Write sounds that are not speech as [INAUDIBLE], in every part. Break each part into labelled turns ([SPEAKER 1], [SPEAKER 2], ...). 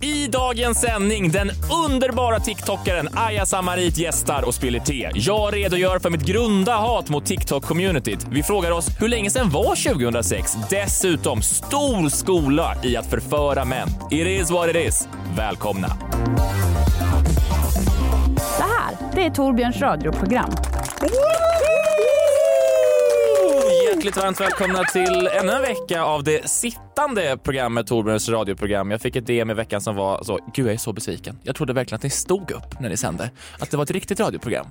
[SPEAKER 1] I dagens sändning, den underbara TikTokaren Aya Samarit gästar och spiller te. Jag redogör för mitt grunda hat mot TikTok-communityt. Vi frågar oss, hur länge sedan var 2006? Dessutom, stor skola i att förföra män. It is what it is. Välkomna!
[SPEAKER 2] Det här, det är Torbjörns radioprogram.
[SPEAKER 1] Hjärtligt varmt välkomna till ännu en vecka av det sittande programmet Torbjörns radioprogram. Jag fick ett DM i veckan som var så, gud jag är så besviken. Jag trodde verkligen att ni stod upp när ni sände, att det var ett riktigt radioprogram.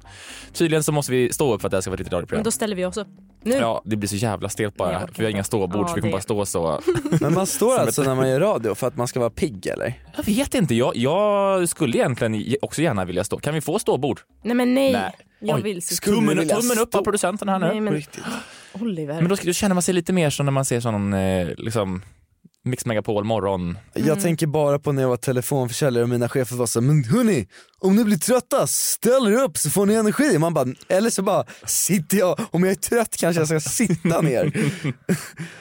[SPEAKER 1] Tydligen så måste vi stå upp för att det här ska vara ett riktigt radioprogram.
[SPEAKER 3] Då ställer vi oss upp. Nu.
[SPEAKER 1] Ja, det blir så jävla stelt bara,
[SPEAKER 3] Jag orkar
[SPEAKER 1] för vi har inga
[SPEAKER 3] inte.
[SPEAKER 1] ståbord så
[SPEAKER 3] Ja,
[SPEAKER 1] vi kommer bara
[SPEAKER 3] det-
[SPEAKER 1] stå så. [LAUGHS]
[SPEAKER 4] Men man står alltså när man gör radio för att man ska vara pigg eller?
[SPEAKER 1] Jag vet inte, jag, jag skulle egentligen också gärna vilja stå. Kan vi få ståbord?
[SPEAKER 3] Nej men nej.
[SPEAKER 1] Nej.
[SPEAKER 3] Jag
[SPEAKER 1] Oj,
[SPEAKER 3] vill sitta.
[SPEAKER 4] Skulle
[SPEAKER 1] Tummen,
[SPEAKER 4] vilja
[SPEAKER 1] tummen upp av
[SPEAKER 4] stå.
[SPEAKER 1] producenten här nu.
[SPEAKER 3] Nej, men
[SPEAKER 4] Riktigt.
[SPEAKER 3] Oliver.
[SPEAKER 1] Men då, ska- då känner man sig lite mer som när man ser sån eh, liksom, Mix Megapol morgon.
[SPEAKER 4] Jag tänker bara på när jag var telefonförsäljare och mina chefer var så här, men hörni, om ni blir trötta, ställ er upp så får ni energi. Man bara, eller så bara sitter jag, om jag är trött kanske jag ska sitta ner.
[SPEAKER 1] [LAUGHS]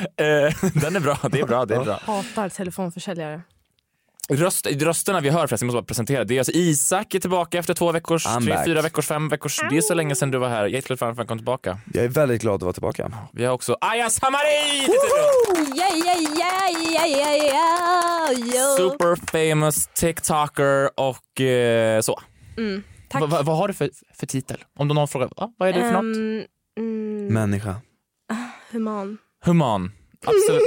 [SPEAKER 1] Eh, den är bra, det är bra, det är bra.
[SPEAKER 3] Hatar telefonförsäljare.
[SPEAKER 1] Röst, rösterna vi hör förresten, jag måste bara presentera. Det är alltså Isak är tillbaka efter två veckors,
[SPEAKER 4] I'm
[SPEAKER 1] tre,
[SPEAKER 4] back.
[SPEAKER 1] fyra veckors, fem veckors. Det är så länge sedan du var här. Hjärtligt varmt välkommen tillbaka.
[SPEAKER 4] Jag är väldigt glad att vara tillbaka.
[SPEAKER 1] Vi har också Aya Samarit!
[SPEAKER 2] Yeah, yeah, yeah, yeah, yeah, yeah, yeah.
[SPEAKER 1] Super famous TikToker och eh, så.
[SPEAKER 3] Mm, Tack.
[SPEAKER 1] Va, va, vad har du för, för titel? Om någon frågar, ah, vad är du för något?
[SPEAKER 3] Ehm, mm,
[SPEAKER 4] Människa.
[SPEAKER 3] human.
[SPEAKER 1] Human. Absolut.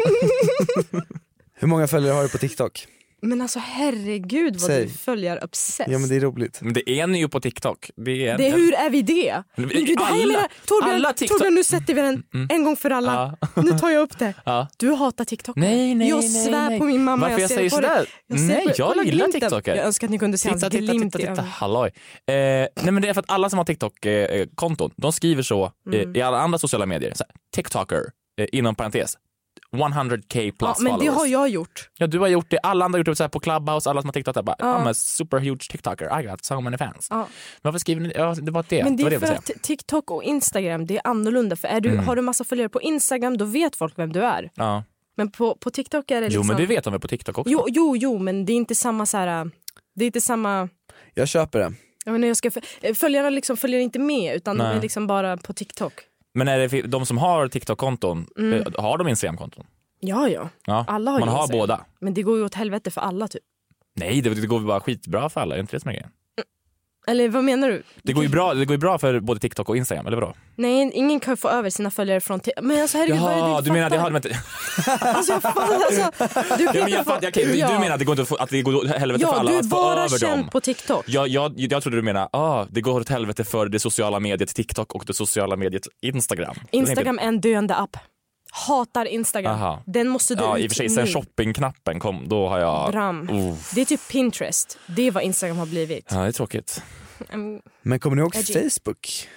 [SPEAKER 4] Hur många följare har du på TikTok?
[SPEAKER 3] Men alltså herregud vad
[SPEAKER 4] Säg.
[SPEAKER 3] du följer obsess.
[SPEAKER 4] Ja men det är roligt.
[SPEAKER 1] Men det är ni ju på TikTok. Det är,
[SPEAKER 3] Det, hur är vi det? Men gud, det här jag
[SPEAKER 1] Alla-
[SPEAKER 3] menar, Torbjörn,
[SPEAKER 1] alla TikTok- Mm,
[SPEAKER 3] Torbjörn, nu sätter vi den en gång för alla.
[SPEAKER 1] Ja.
[SPEAKER 3] Nu tar jag upp det.
[SPEAKER 1] Ja.
[SPEAKER 3] Du hatar TikTok.
[SPEAKER 1] Nej, nej,
[SPEAKER 3] jag
[SPEAKER 1] nej,
[SPEAKER 3] svär
[SPEAKER 1] nej.
[SPEAKER 3] på min mamma.
[SPEAKER 1] Varför jag
[SPEAKER 3] ser
[SPEAKER 1] säger
[SPEAKER 3] på dig.
[SPEAKER 1] sådär?
[SPEAKER 3] ser
[SPEAKER 1] Nej,
[SPEAKER 3] på-
[SPEAKER 1] jag
[SPEAKER 3] kolla
[SPEAKER 1] gillar
[SPEAKER 3] glimten.
[SPEAKER 1] TikToker.
[SPEAKER 3] Jag önskar att ni kunde se hans
[SPEAKER 1] Titta, titta,
[SPEAKER 3] glimt
[SPEAKER 1] titta,
[SPEAKER 3] i
[SPEAKER 1] titta,
[SPEAKER 3] ögonen.
[SPEAKER 1] halloj. Eh, nej men det är för att alla som har TikTok-konton, de skriver så
[SPEAKER 3] Mm.
[SPEAKER 1] eh, i alla andra sociala medier. Så här, TikToker, eh, inom parentes. 100k plus
[SPEAKER 3] Ja, men det
[SPEAKER 1] followers.
[SPEAKER 3] har jag gjort.
[SPEAKER 1] Ja, du har gjort det, alla andra har gjort det så här på Clubhouse, alla som har TikTok där bara I'm a super huge TikToker, I got so many fans.
[SPEAKER 3] Ja.
[SPEAKER 1] Varför skriver ni, ja det var det.
[SPEAKER 3] Men det
[SPEAKER 1] var
[SPEAKER 3] är
[SPEAKER 1] jag
[SPEAKER 3] för
[SPEAKER 1] ville Mm.
[SPEAKER 3] att TikTok och Instagram det är annorlunda. För är du, Har du massa följare på Instagram då vet folk vem du är.
[SPEAKER 1] säga. Ja.
[SPEAKER 3] Men på, på TikTok är det
[SPEAKER 1] Jo
[SPEAKER 3] liksom...
[SPEAKER 1] men det vet de väl på TikTok också?
[SPEAKER 3] jo, jo, jo, men det är inte samma så här... Det är inte samma...
[SPEAKER 4] Jag köper det.
[SPEAKER 3] Jag menar, jag ska fö- följarna liksom följer inte med utan de
[SPEAKER 1] Nej.
[SPEAKER 3] är liksom bara på TikTok.
[SPEAKER 1] Men är det de som har TikTok-konton,
[SPEAKER 3] Mm.
[SPEAKER 1] eh, har de Instagram-konton?
[SPEAKER 3] Ja, ja.
[SPEAKER 1] Ja.
[SPEAKER 3] Alla har
[SPEAKER 1] Man
[SPEAKER 3] ju
[SPEAKER 1] har
[SPEAKER 3] Instagram.
[SPEAKER 1] båda.
[SPEAKER 3] Men det går ju åt helvete för alla typ.
[SPEAKER 1] Nej, det, det går väl bara skitbra för alla, är det inte det som är grejen?
[SPEAKER 3] Eller vad menar du?
[SPEAKER 1] Det går ju bra, det går ju bra för både TikTok och Instagram, eller vadå?
[SPEAKER 3] Nej, ingen kan få över sina följare från... Ti- Men alltså herregud, vad är det
[SPEAKER 1] Jaha, du menar, det har,
[SPEAKER 3] fattar?
[SPEAKER 1] men,
[SPEAKER 3] Alltså
[SPEAKER 1] [LAUGHS]
[SPEAKER 3] jag fattar, alltså. Du kan
[SPEAKER 1] ja, men
[SPEAKER 3] inte
[SPEAKER 1] jag
[SPEAKER 3] få-
[SPEAKER 1] fattar, okej, du, du
[SPEAKER 3] Ja.
[SPEAKER 1] menar att det går inte att få- att det går åt helvete för
[SPEAKER 3] Ja,
[SPEAKER 1] alla
[SPEAKER 3] du är
[SPEAKER 1] att få
[SPEAKER 3] bara
[SPEAKER 1] över
[SPEAKER 3] känd
[SPEAKER 1] dem?
[SPEAKER 3] på TikTok.
[SPEAKER 1] Jag, jag, jag trodde du menade ah, det går åt helvete för det sociala mediet TikTok och det sociala mediet Instagram.
[SPEAKER 3] Instagram är en döende app. Hatar Instagram.
[SPEAKER 1] Aha.
[SPEAKER 3] Den måste du
[SPEAKER 1] Ja, i och
[SPEAKER 3] ut
[SPEAKER 1] för sig,
[SPEAKER 3] nu.
[SPEAKER 1] sen shoppingknappen kom, då har jag...
[SPEAKER 3] Bram. Det är typ Pinterest. Det är vad Instagram har blivit.
[SPEAKER 1] Ja, det är tråkigt.
[SPEAKER 3] Mm,
[SPEAKER 4] Men kommer ni ihåg
[SPEAKER 3] Edgy.
[SPEAKER 4] Facebook?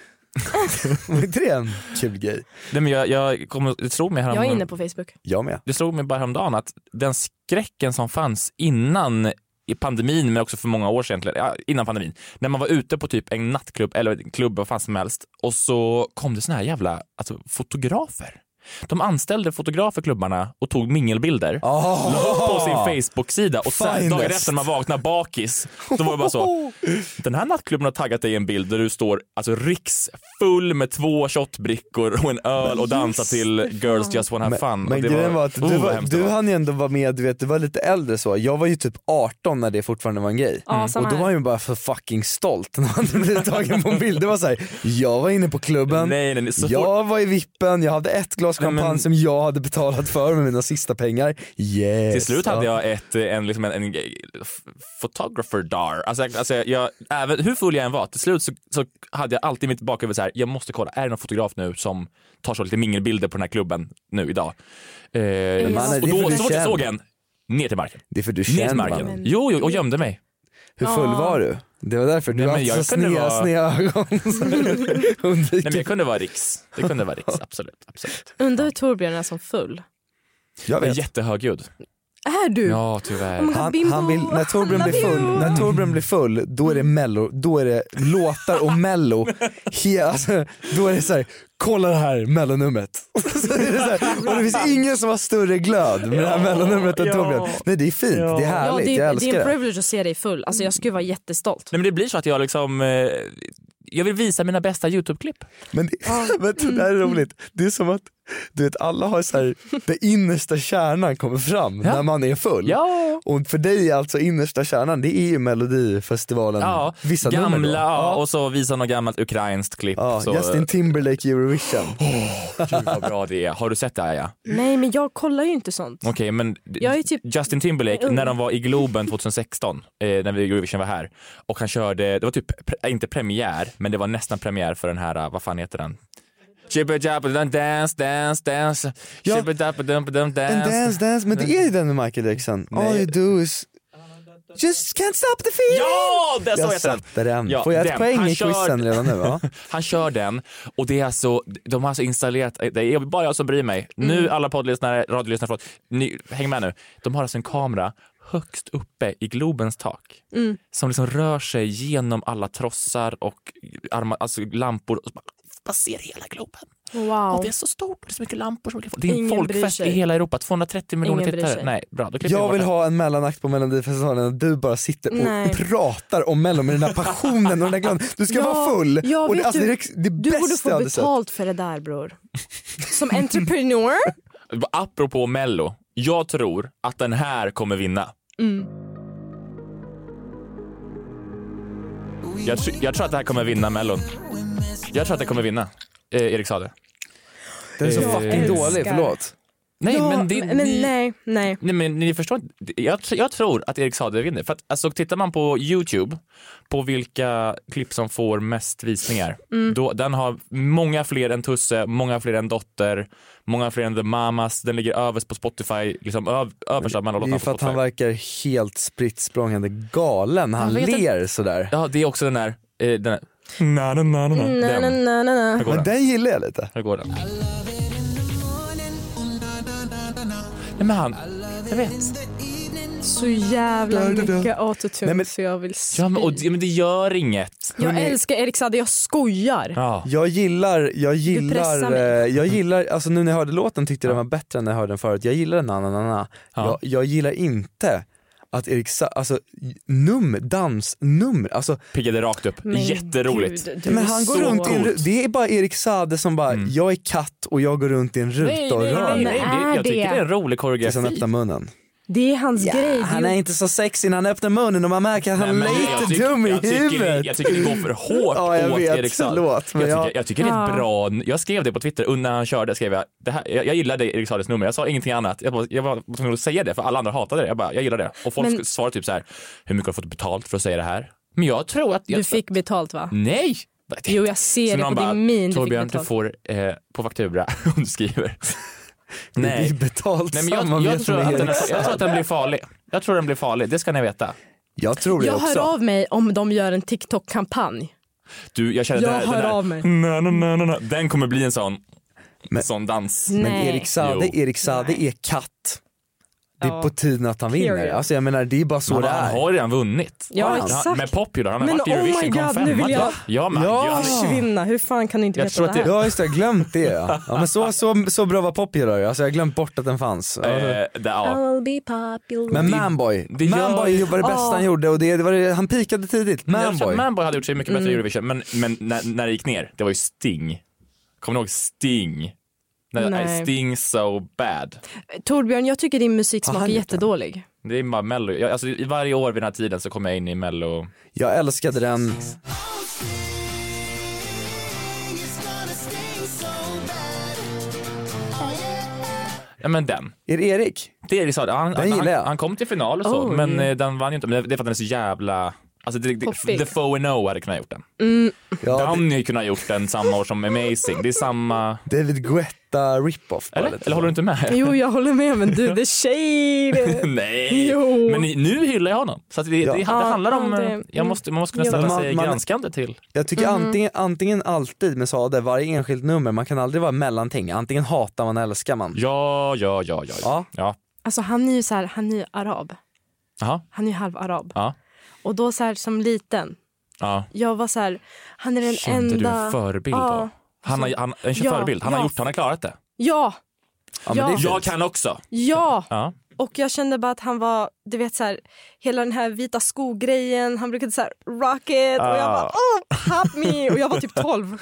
[SPEAKER 4] Var inte det en kul grej?
[SPEAKER 1] Nej, men jag, jag kom, det slog mig
[SPEAKER 3] Jag är
[SPEAKER 1] häromdagen.
[SPEAKER 3] inne på Facebook.
[SPEAKER 4] Jag med.
[SPEAKER 1] Det slog mig bara häromdagen att den skräcken som fanns innan i pandemin, men också för många år sedan, egentligen, ja, innan pandemin, när man var ute på typ en nattklubb eller en klubb, vad fan som helst, och så kom det såna här jävla alltså, fotografer. De anställde fotografer i klubbarna och tog mingelbilder.
[SPEAKER 4] Oh.
[SPEAKER 1] la upp på sin Facebook-sida och sen
[SPEAKER 4] Finest.
[SPEAKER 1] dagen efter när man vaknar bakis, då var det bara
[SPEAKER 4] [LAUGHS]
[SPEAKER 1] så. Den här nattklubben har taggat dig i en bild där du står alltså riksfull med två shotbrickor och en öl och dansar till Girls just wanna have fun.
[SPEAKER 4] Men
[SPEAKER 1] Och det
[SPEAKER 4] grejen var att du,
[SPEAKER 1] oh, vad
[SPEAKER 4] var,
[SPEAKER 1] hemskt det
[SPEAKER 4] du
[SPEAKER 1] var.
[SPEAKER 4] hann ju ändå vara med, du vet du var lite äldre så, jag var ju typ 18 när det fortfarande var en grej. Mm.
[SPEAKER 3] Ja, samma
[SPEAKER 4] Och då
[SPEAKER 3] här.
[SPEAKER 4] var jag ju bara för fucking stolt när man [LAUGHS] blev tagen på en bild. Det var såhär, jag var inne på klubben,
[SPEAKER 1] Nej, nej, nej. Så fort,
[SPEAKER 4] jag var i vippen, jag hade ett glas
[SPEAKER 1] Nej, men-
[SPEAKER 4] champagne som jag hade betalat för med mina sista pengar. Yes.
[SPEAKER 1] till slut hade
[SPEAKER 4] Ja.
[SPEAKER 1] jag ett, eh, en, liksom en, en eh, f- photographer dar. Alltså, jag- alltså jag, även, hur full jag än var, till slut så, så hade jag alltid i mitt bakhuvud så här, jag måste kolla, är det någon fotograf nu som tar så lite mingelbilder på den här klubben nu idag? Eh,
[SPEAKER 4] mannen,
[SPEAKER 1] och
[SPEAKER 4] det är för
[SPEAKER 1] då,
[SPEAKER 4] du
[SPEAKER 1] så fort jag
[SPEAKER 4] känner.
[SPEAKER 1] såg en, ner till marken.
[SPEAKER 4] Det är för du
[SPEAKER 1] Ner
[SPEAKER 4] känner
[SPEAKER 1] till
[SPEAKER 4] man.
[SPEAKER 1] marken. Jo, jo, och gömde mig.
[SPEAKER 4] hur full
[SPEAKER 3] Ja.
[SPEAKER 4] var du? Det var därför du
[SPEAKER 1] Nej,
[SPEAKER 4] har
[SPEAKER 1] men
[SPEAKER 4] alltid så
[SPEAKER 1] jag kunde
[SPEAKER 4] sneda,
[SPEAKER 1] vara- [LAUGHS]
[SPEAKER 4] sneda ögon. [LAUGHS] så undviker.
[SPEAKER 1] Nej men jag kunde vara riks. Det kunde vara riks, absolut. absolut.
[SPEAKER 3] Undrar hur Torbjörn är som full.
[SPEAKER 4] jag
[SPEAKER 1] Men
[SPEAKER 4] vet.
[SPEAKER 1] jättehögljudd.
[SPEAKER 4] Mm.
[SPEAKER 3] Är du?
[SPEAKER 1] Ja, tyvärr.
[SPEAKER 3] Han-
[SPEAKER 4] Han,
[SPEAKER 3] Bimbo,
[SPEAKER 4] han vill, när Torbjörn blir full, när Torbjörn blir full då är det
[SPEAKER 3] Mm.
[SPEAKER 4] mello, då är det låtar och mello. He, alltså, då är det så här, kolla det här mellonumret. [LAUGHS] Så är det så här, och det finns ingen som har större glöd med det här mellonumret än
[SPEAKER 1] ja.
[SPEAKER 4] Torbjörn. Nej det är fint, det är
[SPEAKER 3] Ja,
[SPEAKER 4] härligt,
[SPEAKER 3] det,
[SPEAKER 4] jag
[SPEAKER 3] är, det
[SPEAKER 4] älskar
[SPEAKER 3] är en
[SPEAKER 4] det.
[SPEAKER 3] privilege att se dig full. Alltså jag skulle vara jättestolt.
[SPEAKER 1] Nej men det blir så att jag liksom, eh, jag vill visa mina bästa YouTube-klipp.
[SPEAKER 4] Men, det- [LAUGHS] men det här är roligt, det är som att du vet, alla har så här, den innersta kärnan kommer fram
[SPEAKER 1] Ja.
[SPEAKER 4] när man är full.
[SPEAKER 1] Ja,
[SPEAKER 4] Och för dig är alltså innersta kärnan, det är ju melodifestivalen,
[SPEAKER 1] ja.
[SPEAKER 4] vissa
[SPEAKER 1] gamla
[SPEAKER 4] nummer då.
[SPEAKER 1] ja. och så visa något gammalt ukrainskt klipp.
[SPEAKER 4] Ja,
[SPEAKER 1] så, eh,
[SPEAKER 4] Justin Timberlake
[SPEAKER 3] [LAUGHS]
[SPEAKER 4] i Eurovision.
[SPEAKER 1] Gud vad bra det är. Har du sett det här ja?
[SPEAKER 3] Nej men jag kollar ju inte sånt.
[SPEAKER 1] Okej men d-
[SPEAKER 3] Jag är typ-
[SPEAKER 1] Justin Timberlake när de var i Globen 2016 eh, när vi Eurovision var här och han körde, det var typ, pre, inte premiär men det var nästan premiär för den här, eh, vad fan heter den? Jibba jabba dun dance dance dance
[SPEAKER 4] Ja.
[SPEAKER 1] Jibba jabba dun dun
[SPEAKER 4] En
[SPEAKER 1] dance
[SPEAKER 4] dance dance, men det är ju den med Michael Jackson. All
[SPEAKER 1] Nej.
[SPEAKER 4] you do is just can't stop the feeling.
[SPEAKER 1] Ja! Där sa
[SPEAKER 4] Jag
[SPEAKER 1] jag den!
[SPEAKER 4] satte den.
[SPEAKER 1] Ja,
[SPEAKER 4] Får jag ett
[SPEAKER 1] den.
[SPEAKER 4] poäng
[SPEAKER 1] Han
[SPEAKER 4] i
[SPEAKER 1] kör-
[SPEAKER 4] quizen redan
[SPEAKER 1] [LAUGHS]
[SPEAKER 4] nu? Ja.
[SPEAKER 1] Han kör den och det är alltså, de har alltså installerat, det är bara jag som bryr mig.
[SPEAKER 3] Mm.
[SPEAKER 1] Nu alla poddlyssnare, radiolyssnare, förlåt, ni, häng med nu. De har alltså en kamera högst uppe i Globens tak
[SPEAKER 3] Mm.
[SPEAKER 1] som liksom rör sig genom alla trossar och arma, alltså lampor och bara, bara ser hela Globen. Och
[SPEAKER 3] Wow.
[SPEAKER 1] det är så stort och det är så mycket lampor. Som det är en
[SPEAKER 3] Ingen bryr
[SPEAKER 1] folkfest
[SPEAKER 3] sig.
[SPEAKER 1] i hela Europa, 230 miljoner
[SPEAKER 3] Ingen bryr
[SPEAKER 1] tittare.
[SPEAKER 3] sig.
[SPEAKER 1] Nej, bra, då klipper
[SPEAKER 4] Jag
[SPEAKER 1] bort
[SPEAKER 4] vill
[SPEAKER 1] det.
[SPEAKER 4] ha en mellanakt på Melodifestivalen där du bara sitter och
[SPEAKER 3] Nej.
[SPEAKER 4] pratar om Mello med den där passionen och den där glädjen. Du ska
[SPEAKER 3] Ja,
[SPEAKER 4] vara full.
[SPEAKER 3] ja,
[SPEAKER 4] och det,
[SPEAKER 3] vet
[SPEAKER 4] alltså, det,
[SPEAKER 3] du,
[SPEAKER 4] är det-
[SPEAKER 3] Du
[SPEAKER 4] det bästa
[SPEAKER 3] borde
[SPEAKER 4] jag
[SPEAKER 3] få
[SPEAKER 4] hade sett.
[SPEAKER 3] betalt för det där bror. Som entreprenör.
[SPEAKER 1] Apropå Mello, jag tror att den här kommer vinna. Jag, tr- jag tror att det här kommer vinna Mellon. Jag tror att det kommer vinna. Eh, Erik Saade.
[SPEAKER 4] Den är så
[SPEAKER 1] Eh,
[SPEAKER 4] fucking dålig,
[SPEAKER 3] älskar.
[SPEAKER 4] förlåt.
[SPEAKER 1] [LAUGHS] Nej,
[SPEAKER 3] Ja,
[SPEAKER 1] men, det,
[SPEAKER 3] men
[SPEAKER 1] ni, nej.
[SPEAKER 3] nej, nej.
[SPEAKER 1] men ni förstår inte. Jag, tr- jag tror att Erik Saade vinner. För att, alltså, tittar man på Youtube, på vilka klipp som får mest visningar,
[SPEAKER 3] Mm.
[SPEAKER 1] då, den har många fler än Tusse, många fler än Dotter, många fler än The Mamas, den ligger överst på Spotify, liksom öv, överst av
[SPEAKER 4] Det är
[SPEAKER 1] mellanlåtarna på
[SPEAKER 4] ju för att han
[SPEAKER 1] Spotify.
[SPEAKER 4] verkar helt spritt språngande galen. Han
[SPEAKER 1] Jag vet inte.
[SPEAKER 4] ler sådär.
[SPEAKER 1] Ja, det är också den där, eh, den där. Na, na, na, na, na.
[SPEAKER 3] Na, na,
[SPEAKER 1] Den.
[SPEAKER 3] na, na,
[SPEAKER 1] Här
[SPEAKER 3] na.
[SPEAKER 1] går
[SPEAKER 4] Men
[SPEAKER 1] den.
[SPEAKER 4] den gillar jag lite.
[SPEAKER 1] Här går den. Nej men han, jag vet.
[SPEAKER 3] Så jävla mycket autotune
[SPEAKER 4] Nej, men-
[SPEAKER 3] så jag vill spy.
[SPEAKER 1] Ja men, och, ja, men det gör inget.
[SPEAKER 3] Jag älskar Erik Saade, jag skojar.
[SPEAKER 1] Ja. Mm.
[SPEAKER 4] Jag gillar, jag
[SPEAKER 3] pressar
[SPEAKER 4] gillar,
[SPEAKER 3] mig.
[SPEAKER 4] eh, jag gillar, alltså nu när jag hörde låten tyckte jag den var bättre än när jag hörde den förut. Jag gillar den, na, na, na, na.
[SPEAKER 1] Ja.
[SPEAKER 4] Jag, jag gillar inte att Erik Sa- alltså num, dansnummer, alltså
[SPEAKER 1] Piggade rakt upp.
[SPEAKER 3] Men
[SPEAKER 1] Jätteroligt.
[SPEAKER 3] gud, du
[SPEAKER 4] men
[SPEAKER 3] är
[SPEAKER 4] han går
[SPEAKER 3] så-
[SPEAKER 4] runt i en,
[SPEAKER 1] coolt.
[SPEAKER 4] ru- det är bara Erik Sade som bara,
[SPEAKER 1] Mm.
[SPEAKER 4] jag är katt och jag går runt i en ruta och rör mig.
[SPEAKER 3] nej.
[SPEAKER 1] Det,
[SPEAKER 3] är
[SPEAKER 1] jag tycker
[SPEAKER 3] det?
[SPEAKER 1] det är en rolig
[SPEAKER 4] Tills han
[SPEAKER 1] koreografi.
[SPEAKER 4] öppnar munnen.
[SPEAKER 3] Det är hans grej.
[SPEAKER 4] Han är inte så sexig när han öppnar munnen och man märker att
[SPEAKER 1] Nej,
[SPEAKER 4] han
[SPEAKER 1] men det-
[SPEAKER 4] är
[SPEAKER 1] jag
[SPEAKER 4] lite
[SPEAKER 1] tycker-
[SPEAKER 4] dum i
[SPEAKER 1] jag tycker-
[SPEAKER 4] huvudet.
[SPEAKER 1] Jag tycker det går för hårt
[SPEAKER 4] Ja, jag
[SPEAKER 1] åt
[SPEAKER 4] vet.
[SPEAKER 1] Erik Saade.
[SPEAKER 4] Förlåt, men
[SPEAKER 1] jag,
[SPEAKER 4] jag-
[SPEAKER 1] tycker, jag tycker det är ett bra, jag skrev det på Twitter när han körde, skrev jag, det här, jag, jag gillade Erik Saades nummer, jag sa ingenting annat. Jag, bara, jag var tvungen att säga det för alla andra hatade det. Jag bara, jag gillar det. Och folk
[SPEAKER 3] Men-
[SPEAKER 1] svarade typ så här, hur mycket har du fått betalt för att säga det här? Men jag tror att... Jag,
[SPEAKER 3] Du fick betalt va?
[SPEAKER 1] Nej!
[SPEAKER 3] Jo jag ser
[SPEAKER 1] Så
[SPEAKER 3] det
[SPEAKER 1] någon
[SPEAKER 3] på
[SPEAKER 1] bara,
[SPEAKER 3] din min. Du fick
[SPEAKER 1] Torbjörn, du
[SPEAKER 3] betalt.
[SPEAKER 1] får eh, på faktura [LAUGHS] om du skriver.
[SPEAKER 4] Det är
[SPEAKER 1] Nej.
[SPEAKER 4] betalt
[SPEAKER 1] Nej, men jag, jag,
[SPEAKER 4] samarbete
[SPEAKER 1] tror
[SPEAKER 4] med
[SPEAKER 1] att den,
[SPEAKER 4] Erik
[SPEAKER 1] jag tror att den blir farlig. Jag tror den blir farlig, det ska ni veta.
[SPEAKER 4] Jag tror det
[SPEAKER 3] Jag
[SPEAKER 4] också.
[SPEAKER 3] hör av mig om de gör en TikTok-kampanj.
[SPEAKER 1] Du, jag känner
[SPEAKER 3] Jag
[SPEAKER 1] att den här,
[SPEAKER 3] hör
[SPEAKER 1] den här,
[SPEAKER 3] av mig.
[SPEAKER 1] Na, na, na, na, na. Den kommer bli en sån,
[SPEAKER 4] Men-
[SPEAKER 1] sån dans.
[SPEAKER 4] Men
[SPEAKER 3] Nej.
[SPEAKER 4] Erik Sade,
[SPEAKER 1] Jo.
[SPEAKER 4] Erik Sade är katt. Det är
[SPEAKER 3] Ja.
[SPEAKER 4] på tiden att han vinner.
[SPEAKER 3] Period.
[SPEAKER 4] Alltså jag menar det är bara så
[SPEAKER 1] Han,
[SPEAKER 4] det
[SPEAKER 1] han
[SPEAKER 4] är.
[SPEAKER 1] har redan vunnit.
[SPEAKER 3] Ja,
[SPEAKER 1] han,
[SPEAKER 3] exakt.
[SPEAKER 1] Med Popular, han har
[SPEAKER 3] Men
[SPEAKER 1] varit i
[SPEAKER 3] oh my
[SPEAKER 1] Eurovision, kom
[SPEAKER 3] God,
[SPEAKER 1] femma.
[SPEAKER 3] nu vill jag-
[SPEAKER 1] Ja, ja, man,
[SPEAKER 4] Ja.
[SPEAKER 1] ja.
[SPEAKER 3] Försvinna, hur fan kan du inte
[SPEAKER 1] Jag
[SPEAKER 3] veta
[SPEAKER 1] tror
[SPEAKER 3] det
[SPEAKER 1] att
[SPEAKER 3] här?
[SPEAKER 1] det-
[SPEAKER 4] Ja just det, jag har
[SPEAKER 1] [LAUGHS]
[SPEAKER 4] glömt det ja. ja men så, så, så bra var Popular alltså jag har glömt bort att den fanns. Ja, det-
[SPEAKER 1] Eh, det, ja.
[SPEAKER 2] I'll be popular.
[SPEAKER 4] Men Manboy,
[SPEAKER 1] det gör-
[SPEAKER 4] Manboy var det bästa han gjorde och det, det var det, han pikade tidigt.
[SPEAKER 1] Manboy.
[SPEAKER 4] Manboy.
[SPEAKER 1] Manboy hade gjort sig mycket
[SPEAKER 3] Mm.
[SPEAKER 1] bättre i Eurovision, men, men när, när det gick ner, det var ju Sting. Kommer ni ihåg Sting? När,
[SPEAKER 3] Nej.
[SPEAKER 1] I Sting so bad.
[SPEAKER 3] Torbjörn, jag tycker din
[SPEAKER 4] Har
[SPEAKER 3] musiksmak är
[SPEAKER 4] Ah, han gjort
[SPEAKER 3] jättedålig.
[SPEAKER 1] Det är bara Mello. Jag, alltså, i varje år vid den här tiden så kommer jag in i Mello.
[SPEAKER 4] Jag älskade den.
[SPEAKER 1] Ja men den.
[SPEAKER 4] Är det Erik?
[SPEAKER 1] Det är liksom, han,
[SPEAKER 4] gillar
[SPEAKER 1] han,
[SPEAKER 4] jag.
[SPEAKER 1] han, han kom till final och så,
[SPEAKER 3] Oh.
[SPEAKER 1] men eh, den vann ju inte. Men det är för att den är så jävla Alltså, det, det,
[SPEAKER 3] Poppig.
[SPEAKER 1] The Foe and No hade kunnat gjort den.
[SPEAKER 4] Ja, det-
[SPEAKER 1] Downey hade kunnat gjort den samma år som Amazing. Det är samma...
[SPEAKER 4] David Guetta rip-off. bara
[SPEAKER 1] Eller,
[SPEAKER 4] lite.
[SPEAKER 1] eller håller du inte med?
[SPEAKER 3] Jo, jag håller med men du, the
[SPEAKER 4] [LAUGHS]
[SPEAKER 3] shade.
[SPEAKER 1] [LAUGHS] Nej,
[SPEAKER 3] Jo.
[SPEAKER 1] men ni- nu hyllar jag honom. Så att det, det, det
[SPEAKER 4] Ja,
[SPEAKER 1] handlar om,
[SPEAKER 3] det- Mm.
[SPEAKER 1] eh, jag måste, man måste kunna
[SPEAKER 3] Jo.
[SPEAKER 1] ställa
[SPEAKER 4] Man-
[SPEAKER 1] sig
[SPEAKER 4] man-
[SPEAKER 1] granskande till.
[SPEAKER 4] Jag tycker
[SPEAKER 3] Mhm.
[SPEAKER 4] antingen, antingen alltid med Sade, varje enskilt nummer, man kan aldrig vara mellanting. Antingen hatar man eller älskar man.
[SPEAKER 1] Ja, ja, ja, ja.
[SPEAKER 4] Ja.
[SPEAKER 1] ja.
[SPEAKER 3] Alltså han är ju så här, han är ju arab.
[SPEAKER 1] Jaha.
[SPEAKER 3] Han är ju halvarab.
[SPEAKER 1] Ja.
[SPEAKER 3] Och då så här som liten,
[SPEAKER 1] ja.
[SPEAKER 3] jag var så här, han är den
[SPEAKER 1] Kände
[SPEAKER 3] enda...
[SPEAKER 1] du en förebild
[SPEAKER 3] ja,
[SPEAKER 1] då? Han har, han, en
[SPEAKER 3] Ja,
[SPEAKER 1] förebild. Han har
[SPEAKER 3] ja.
[SPEAKER 1] gjort, han har klarat det.
[SPEAKER 3] ja,
[SPEAKER 4] Ja, men det är
[SPEAKER 3] Ja.
[SPEAKER 1] Jag kan också.
[SPEAKER 3] ja!
[SPEAKER 1] Ja.
[SPEAKER 3] Och jag kände bara att han var, du vet så här, hela den här vita skogrejen, han brukade så här rocket och jag
[SPEAKER 1] Ah.
[SPEAKER 3] bara oh, pop me och jag var
[SPEAKER 1] [LAUGHS]
[SPEAKER 3] typ 12.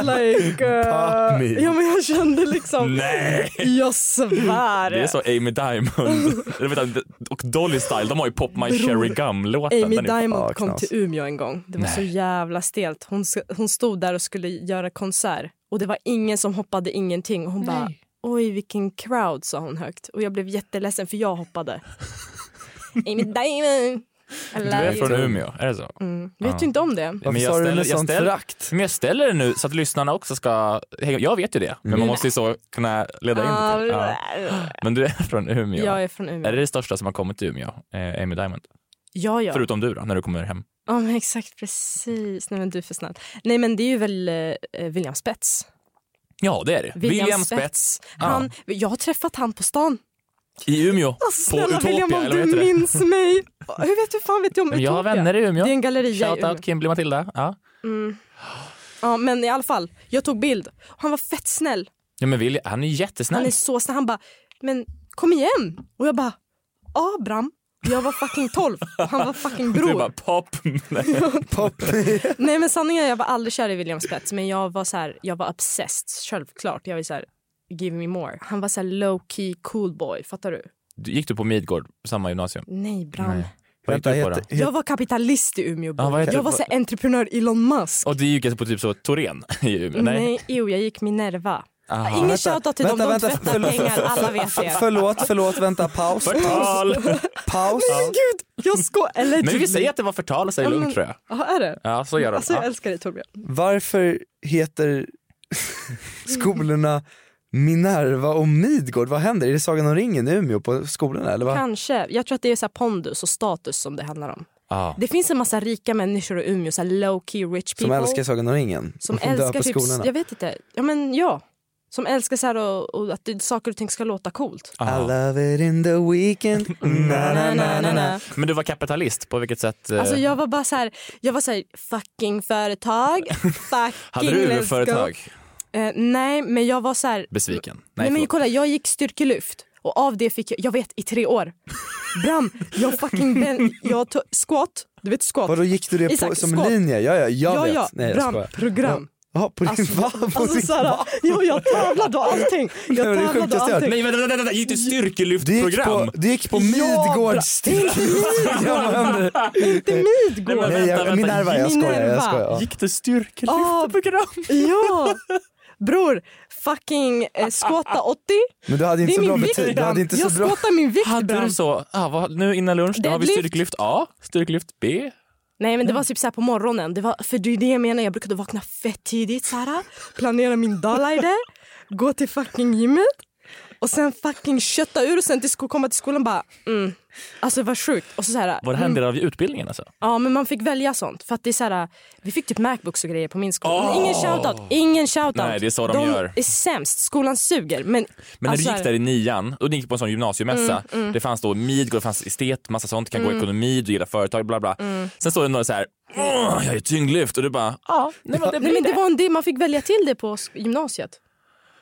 [SPEAKER 3] like, eh,
[SPEAKER 4] me.
[SPEAKER 3] Ja men jag kände liksom,
[SPEAKER 1] Nej!
[SPEAKER 3] jag svär.
[SPEAKER 1] Det är så Amy Diamond
[SPEAKER 3] [LAUGHS]
[SPEAKER 1] Eller vänta, och Dolly Style, de har ju Pop My Cherry Gum-låten.
[SPEAKER 3] Amy
[SPEAKER 1] Den är-
[SPEAKER 3] Diamond
[SPEAKER 4] Ja,
[SPEAKER 3] kom
[SPEAKER 4] knas.
[SPEAKER 3] till Umeå en gång. Det var så jävla stelt. Hon, s- hon stod där och skulle göra konsert och det var ingen som hoppade ingenting. Och hon bara oj vilken crowd sa hon högt och jag blev jätteledsen för
[SPEAKER 1] [LAUGHS]
[SPEAKER 3] jag hoppade. Amy Diamond. I
[SPEAKER 1] Du är
[SPEAKER 3] love
[SPEAKER 1] från
[SPEAKER 3] you.
[SPEAKER 1] Umeå, är det så?
[SPEAKER 3] Mm. Vet du inte om det?
[SPEAKER 4] Varför
[SPEAKER 1] Men jag
[SPEAKER 4] sa du det
[SPEAKER 1] ställer-
[SPEAKER 4] med
[SPEAKER 1] jag
[SPEAKER 4] sånt
[SPEAKER 1] ställer-
[SPEAKER 4] förakt?
[SPEAKER 1] Men jag ställer det nu så att lyssnarna också ska... hänga- Jag vet ju det, men
[SPEAKER 4] Mm.
[SPEAKER 1] man måste ju så kunna leda in det till. Ja. Men du är från Umeå.
[SPEAKER 3] Ah. Jag är från
[SPEAKER 1] Är det
[SPEAKER 3] Umeå.
[SPEAKER 1] det största som har kommit till Umeå, eh, Amy Diamond?
[SPEAKER 3] Ja, ja.
[SPEAKER 1] Förutom du då, när du kommer hem.
[SPEAKER 3] Ja, men exakt precis. Nej, men du är för snäll. Nej, men det är ju väl eh, William Spets.
[SPEAKER 1] Ja, det är det. William, Spets
[SPEAKER 3] Han, Jag har träffat han på stan.
[SPEAKER 1] i Umeå.
[SPEAKER 3] Alltså,
[SPEAKER 1] på
[SPEAKER 3] snälla
[SPEAKER 1] Utopia,
[SPEAKER 3] William, om
[SPEAKER 1] eller vad heter
[SPEAKER 3] du
[SPEAKER 1] det?
[SPEAKER 3] minns mig. Hur vet du fan vet jag om
[SPEAKER 1] Men jag har
[SPEAKER 3] Utopia?
[SPEAKER 1] vänner i Umeå.
[SPEAKER 3] Det är en galleria i Umeå.
[SPEAKER 1] Shoutout Kimberly Matilda. Ja.
[SPEAKER 3] Ja, men i alla fall, jag tog bild. Han var fett snäll.
[SPEAKER 1] Ja, men William, han är jättesnäll.
[SPEAKER 3] Han är så snäll. Han bara, men kom igen. Och jag bara, Abraham. Jag var fucking 12 och han var
[SPEAKER 1] [LAUGHS]
[SPEAKER 3] fucking
[SPEAKER 1] Du
[SPEAKER 3] bror.
[SPEAKER 1] bara pop. Nej.
[SPEAKER 3] Nej men sanningen är jag var aldrig kär i William Spets men jag var så här, jag var obsessed självklart. Jag var så här, give me more. Han var så här low key cool boy, fattar du?
[SPEAKER 1] Gick du på Midgård, samma gymnasium?
[SPEAKER 3] Nej Bram.
[SPEAKER 1] Vad gick
[SPEAKER 4] Vänta,
[SPEAKER 1] du på
[SPEAKER 4] heter,
[SPEAKER 1] då?
[SPEAKER 4] heter,
[SPEAKER 3] Jag var kapitalist i Umeå.
[SPEAKER 1] Ja, vad heter
[SPEAKER 3] jag
[SPEAKER 1] det?
[SPEAKER 3] var så här, entreprenör Elon Musk.
[SPEAKER 1] Och det gick alltså på typ så Torén i Umeå? Nej.
[SPEAKER 3] Nej, jo, jag gick Minerva.
[SPEAKER 1] Aha.
[SPEAKER 3] Ingen
[SPEAKER 4] Vänta,
[SPEAKER 3] shoutout till
[SPEAKER 4] vänta,
[SPEAKER 3] dem,
[SPEAKER 4] vänta,
[SPEAKER 3] de tvättar
[SPEAKER 4] förlåt,
[SPEAKER 3] pengar, alla vet det.
[SPEAKER 4] Förlåt, förlåt, vänta, paus, paus,
[SPEAKER 3] [LAUGHS]
[SPEAKER 1] Förtal!
[SPEAKER 3] typ
[SPEAKER 4] paus.
[SPEAKER 3] Oh Gud, jag skojar. Eller
[SPEAKER 1] Men vi
[SPEAKER 3] typ-
[SPEAKER 1] säger att det var förtal och säger
[SPEAKER 3] Ja, men-
[SPEAKER 1] lugnt tror jag.
[SPEAKER 3] Ja, är det?
[SPEAKER 1] Ja, så gör de.
[SPEAKER 3] Alltså jag
[SPEAKER 1] Ja.
[SPEAKER 3] älskar dig Torbjörn.
[SPEAKER 4] Varför heter skolorna Minerva och Midgård? Vad händer? Är det Sagan om ringen i Umeå på skolorna eller vad?
[SPEAKER 3] Kanske. Jag tror att det är så här pondus och status som det handlar om.
[SPEAKER 1] Ja.
[SPEAKER 3] Det finns en massa rika människor i Umeå, så här low key rich
[SPEAKER 4] Som
[SPEAKER 3] people.
[SPEAKER 4] älskar Sagan om ringen?
[SPEAKER 3] som
[SPEAKER 4] dör
[SPEAKER 3] älskar
[SPEAKER 4] på
[SPEAKER 3] typ,
[SPEAKER 4] skolorna?
[SPEAKER 3] jag vet inte, ja men ja. Som älskar så här och, och att det, saker och ting ska låta coolt.
[SPEAKER 4] I
[SPEAKER 1] Ja.
[SPEAKER 4] love it in the weekend
[SPEAKER 1] [LAUGHS] Mm.
[SPEAKER 4] na, na, na, na, na.
[SPEAKER 1] Men du var kapitalist, på vilket sätt? eh,
[SPEAKER 3] Alltså jag var bara så här, jag var så här fucking
[SPEAKER 4] [LAUGHS]
[SPEAKER 3] företag, fucking
[SPEAKER 1] hade
[SPEAKER 3] let's
[SPEAKER 1] du
[SPEAKER 3] go.
[SPEAKER 1] UF-företag?
[SPEAKER 3] Eh, nej men jag var så här,
[SPEAKER 1] Besviken?
[SPEAKER 3] nej, men
[SPEAKER 1] förlåt.
[SPEAKER 3] kolla jag gick styrkelyft och av det fick jag, jag vet i tre år. Bram, jag fucking ben, jag to- squat, du vet squat.
[SPEAKER 4] Vadå gick du det på,
[SPEAKER 3] Isak,
[SPEAKER 4] som
[SPEAKER 3] skål.
[SPEAKER 4] linje? Ja, ja, jag
[SPEAKER 3] ja
[SPEAKER 4] vet.
[SPEAKER 3] ja,
[SPEAKER 4] Nej, jag
[SPEAKER 3] Bram,
[SPEAKER 4] skojar.
[SPEAKER 3] program.
[SPEAKER 4] Jaha, på din
[SPEAKER 3] Alltså,
[SPEAKER 4] [LAUGHS] va? På
[SPEAKER 3] Alltså
[SPEAKER 4] din
[SPEAKER 3] såhär,
[SPEAKER 4] va?
[SPEAKER 3] jo, jag tävlade och allting. Jag
[SPEAKER 4] det är det
[SPEAKER 3] tävlade och
[SPEAKER 4] sjukaste jag hört.
[SPEAKER 3] allting.
[SPEAKER 1] Nej, vänta, vänta, vänta, gick du
[SPEAKER 4] Du gick
[SPEAKER 1] styrkelyftprogram?
[SPEAKER 4] på, du gick på Midgårds... Det är inte [LAUGHS] Midgård!
[SPEAKER 3] Midgård.
[SPEAKER 1] Nej, men
[SPEAKER 4] Nej,
[SPEAKER 1] vänta,
[SPEAKER 4] jag,
[SPEAKER 1] vänta.
[SPEAKER 4] Minerva, jag skojar. Jag
[SPEAKER 3] Minerva.
[SPEAKER 4] skojar. Ja.
[SPEAKER 1] Gick du styrkelyftprogram?
[SPEAKER 3] Ja! Bror, fucking eh, skåta 80.
[SPEAKER 4] Men du
[SPEAKER 3] Det
[SPEAKER 4] hade
[SPEAKER 3] är
[SPEAKER 4] inte så bra
[SPEAKER 3] min vikt
[SPEAKER 4] betyg. Du
[SPEAKER 3] Bram.
[SPEAKER 4] hade inte så
[SPEAKER 3] Jag
[SPEAKER 4] bra...
[SPEAKER 3] skåtar min vikt
[SPEAKER 1] Hade
[SPEAKER 3] Bram.
[SPEAKER 1] du så, ah, vad, nu innan lunch, då har vi
[SPEAKER 3] Deadlift.
[SPEAKER 1] styrkelyft A, styrkelyft B.
[SPEAKER 3] Nej men det var typ såhär på morgonen. Det var, för det är det jag menar, jag brukade vakna fett tidigt såhär. Planera min daglider. Gå till fucking gymmet. Och sen fucking kötta ur och sen till sko- komma till skolan bara mm. Alltså det var sjukt. Och så såhär,
[SPEAKER 1] Var det här en del av utbildningen alltså?
[SPEAKER 3] Ja, men man fick välja sånt. För att det är så här, vi fick typ Macbooks och grejer på min skola. Men Ingen shoutout! Ingen shoutout!
[SPEAKER 1] Nej, det är så de gör.
[SPEAKER 3] är sämst. Skolan suger. Men,
[SPEAKER 1] Men
[SPEAKER 3] alltså
[SPEAKER 1] när du
[SPEAKER 3] så
[SPEAKER 1] gick
[SPEAKER 3] här- Mm,
[SPEAKER 1] där i nian, och du gick på en sån gymnasiemässa, det fanns då Midgård, det fanns estet, massa sånt, du kan gå ekonomi, du gillar företag, bla bla.
[SPEAKER 3] Mm.
[SPEAKER 1] Sen står det några så här, "Åh, jag är tyngdlyft och du bara, "Ah, ja, nej, men det,
[SPEAKER 3] Nej,
[SPEAKER 1] blir
[SPEAKER 3] men det
[SPEAKER 1] det.
[SPEAKER 3] var en del, man fick välja till det på s- gymnasiet.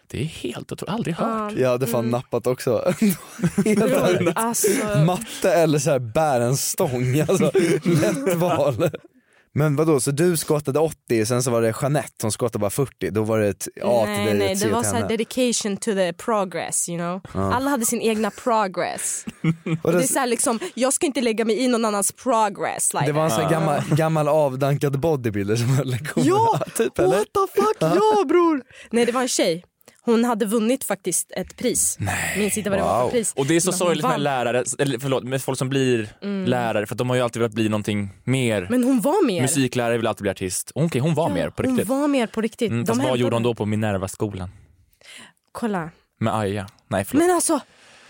[SPEAKER 1] det är helt otroligt, aldrig hört.
[SPEAKER 4] Jag hade fan nappat också. Mm. [LAUGHS] Helt ärligt.
[SPEAKER 3] Alltså,
[SPEAKER 4] Matte eller så här bär en stång. Alltså, lätt val. Men vadå, så du skottade 80 sen så var det Jeanette som skottade bara 40. Då var det ett A till dig
[SPEAKER 3] nej,
[SPEAKER 4] och
[SPEAKER 3] nej,
[SPEAKER 4] ett C
[SPEAKER 3] det
[SPEAKER 4] till
[SPEAKER 3] var så här
[SPEAKER 4] henne.
[SPEAKER 3] dedication to the progress, you know. Alla hade sin egna progress.
[SPEAKER 4] Och
[SPEAKER 3] Det
[SPEAKER 4] det,
[SPEAKER 3] är så här liksom, jag ska inte lägga mig i någon annans progress. Like
[SPEAKER 4] det var en sån här gammal, gammal avdankad bodybuilder som höll lektionerna.
[SPEAKER 3] Ja!
[SPEAKER 4] typ, eller?
[SPEAKER 3] What the fuck, ja bror! Nej det var en tjej. Hon hade vunnit faktiskt ett pris. Nej. Minns inte vad det var
[SPEAKER 4] wow.
[SPEAKER 3] för pris.
[SPEAKER 1] Och det är så
[SPEAKER 3] Men hon
[SPEAKER 1] sorgligt med
[SPEAKER 3] vann.
[SPEAKER 1] lärare, eller förlåt, med folk som blir lärare för att de har ju alltid velat bli någonting mer.
[SPEAKER 3] Mm. Men hon var mer.
[SPEAKER 1] Musiklärare vill alltid bli artist. Okej, hon var mer på riktigt.
[SPEAKER 3] Hon var mer på riktigt.
[SPEAKER 1] Mm,
[SPEAKER 3] De
[SPEAKER 1] fast vad
[SPEAKER 3] hämtade-
[SPEAKER 1] gjorde hon då på Minerva-skolan?
[SPEAKER 3] Kolla.
[SPEAKER 1] Med Aja? Nej, förlåt.
[SPEAKER 3] Men alltså,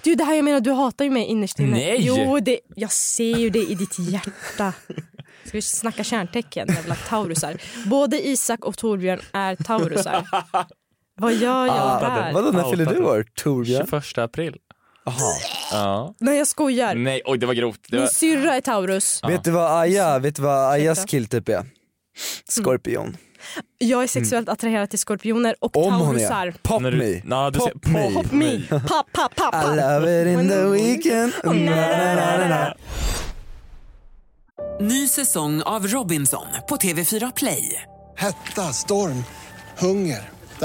[SPEAKER 3] det är ju det här jag menar, du hatar ju mig innerst inne.
[SPEAKER 1] Nej!
[SPEAKER 3] Jo, det, jag ser ju det i ditt hjärta. [LAUGHS] Ska vi snacka kärntecken, jävla taurusar. Både Isak och Torbjörn är
[SPEAKER 1] [LAUGHS]
[SPEAKER 3] taurusar. Vad gör jag
[SPEAKER 1] Ah,
[SPEAKER 3] här?
[SPEAKER 4] Vadå, när fyller du år? Torbjörn?
[SPEAKER 1] 21 april. Ja.
[SPEAKER 3] Nej, jag skojar.
[SPEAKER 1] Nej, oj det var grovt. Det var...
[SPEAKER 3] Min syrra är taurus.
[SPEAKER 4] Vet du vad Aja, vet du vad Ajas
[SPEAKER 3] Ursäkta. Mm.
[SPEAKER 4] killtyp är? Skorpion.
[SPEAKER 3] Jag är
[SPEAKER 1] Mm.
[SPEAKER 3] sexuellt attraherad till skorpioner och
[SPEAKER 4] Om hon
[SPEAKER 3] taurusar.
[SPEAKER 4] är. Pop
[SPEAKER 1] När du-
[SPEAKER 4] me.
[SPEAKER 1] Ja, du ser-
[SPEAKER 4] Pop me.
[SPEAKER 1] Pop
[SPEAKER 3] Me, papp, papp,
[SPEAKER 1] [LAUGHS]
[SPEAKER 3] papp.
[SPEAKER 4] I love it in the weekend. Mm. Na-na-na-na-na.
[SPEAKER 5] Ny säsong av Robinson på TV4 Play.
[SPEAKER 6] Hetta, storm, hunger. Det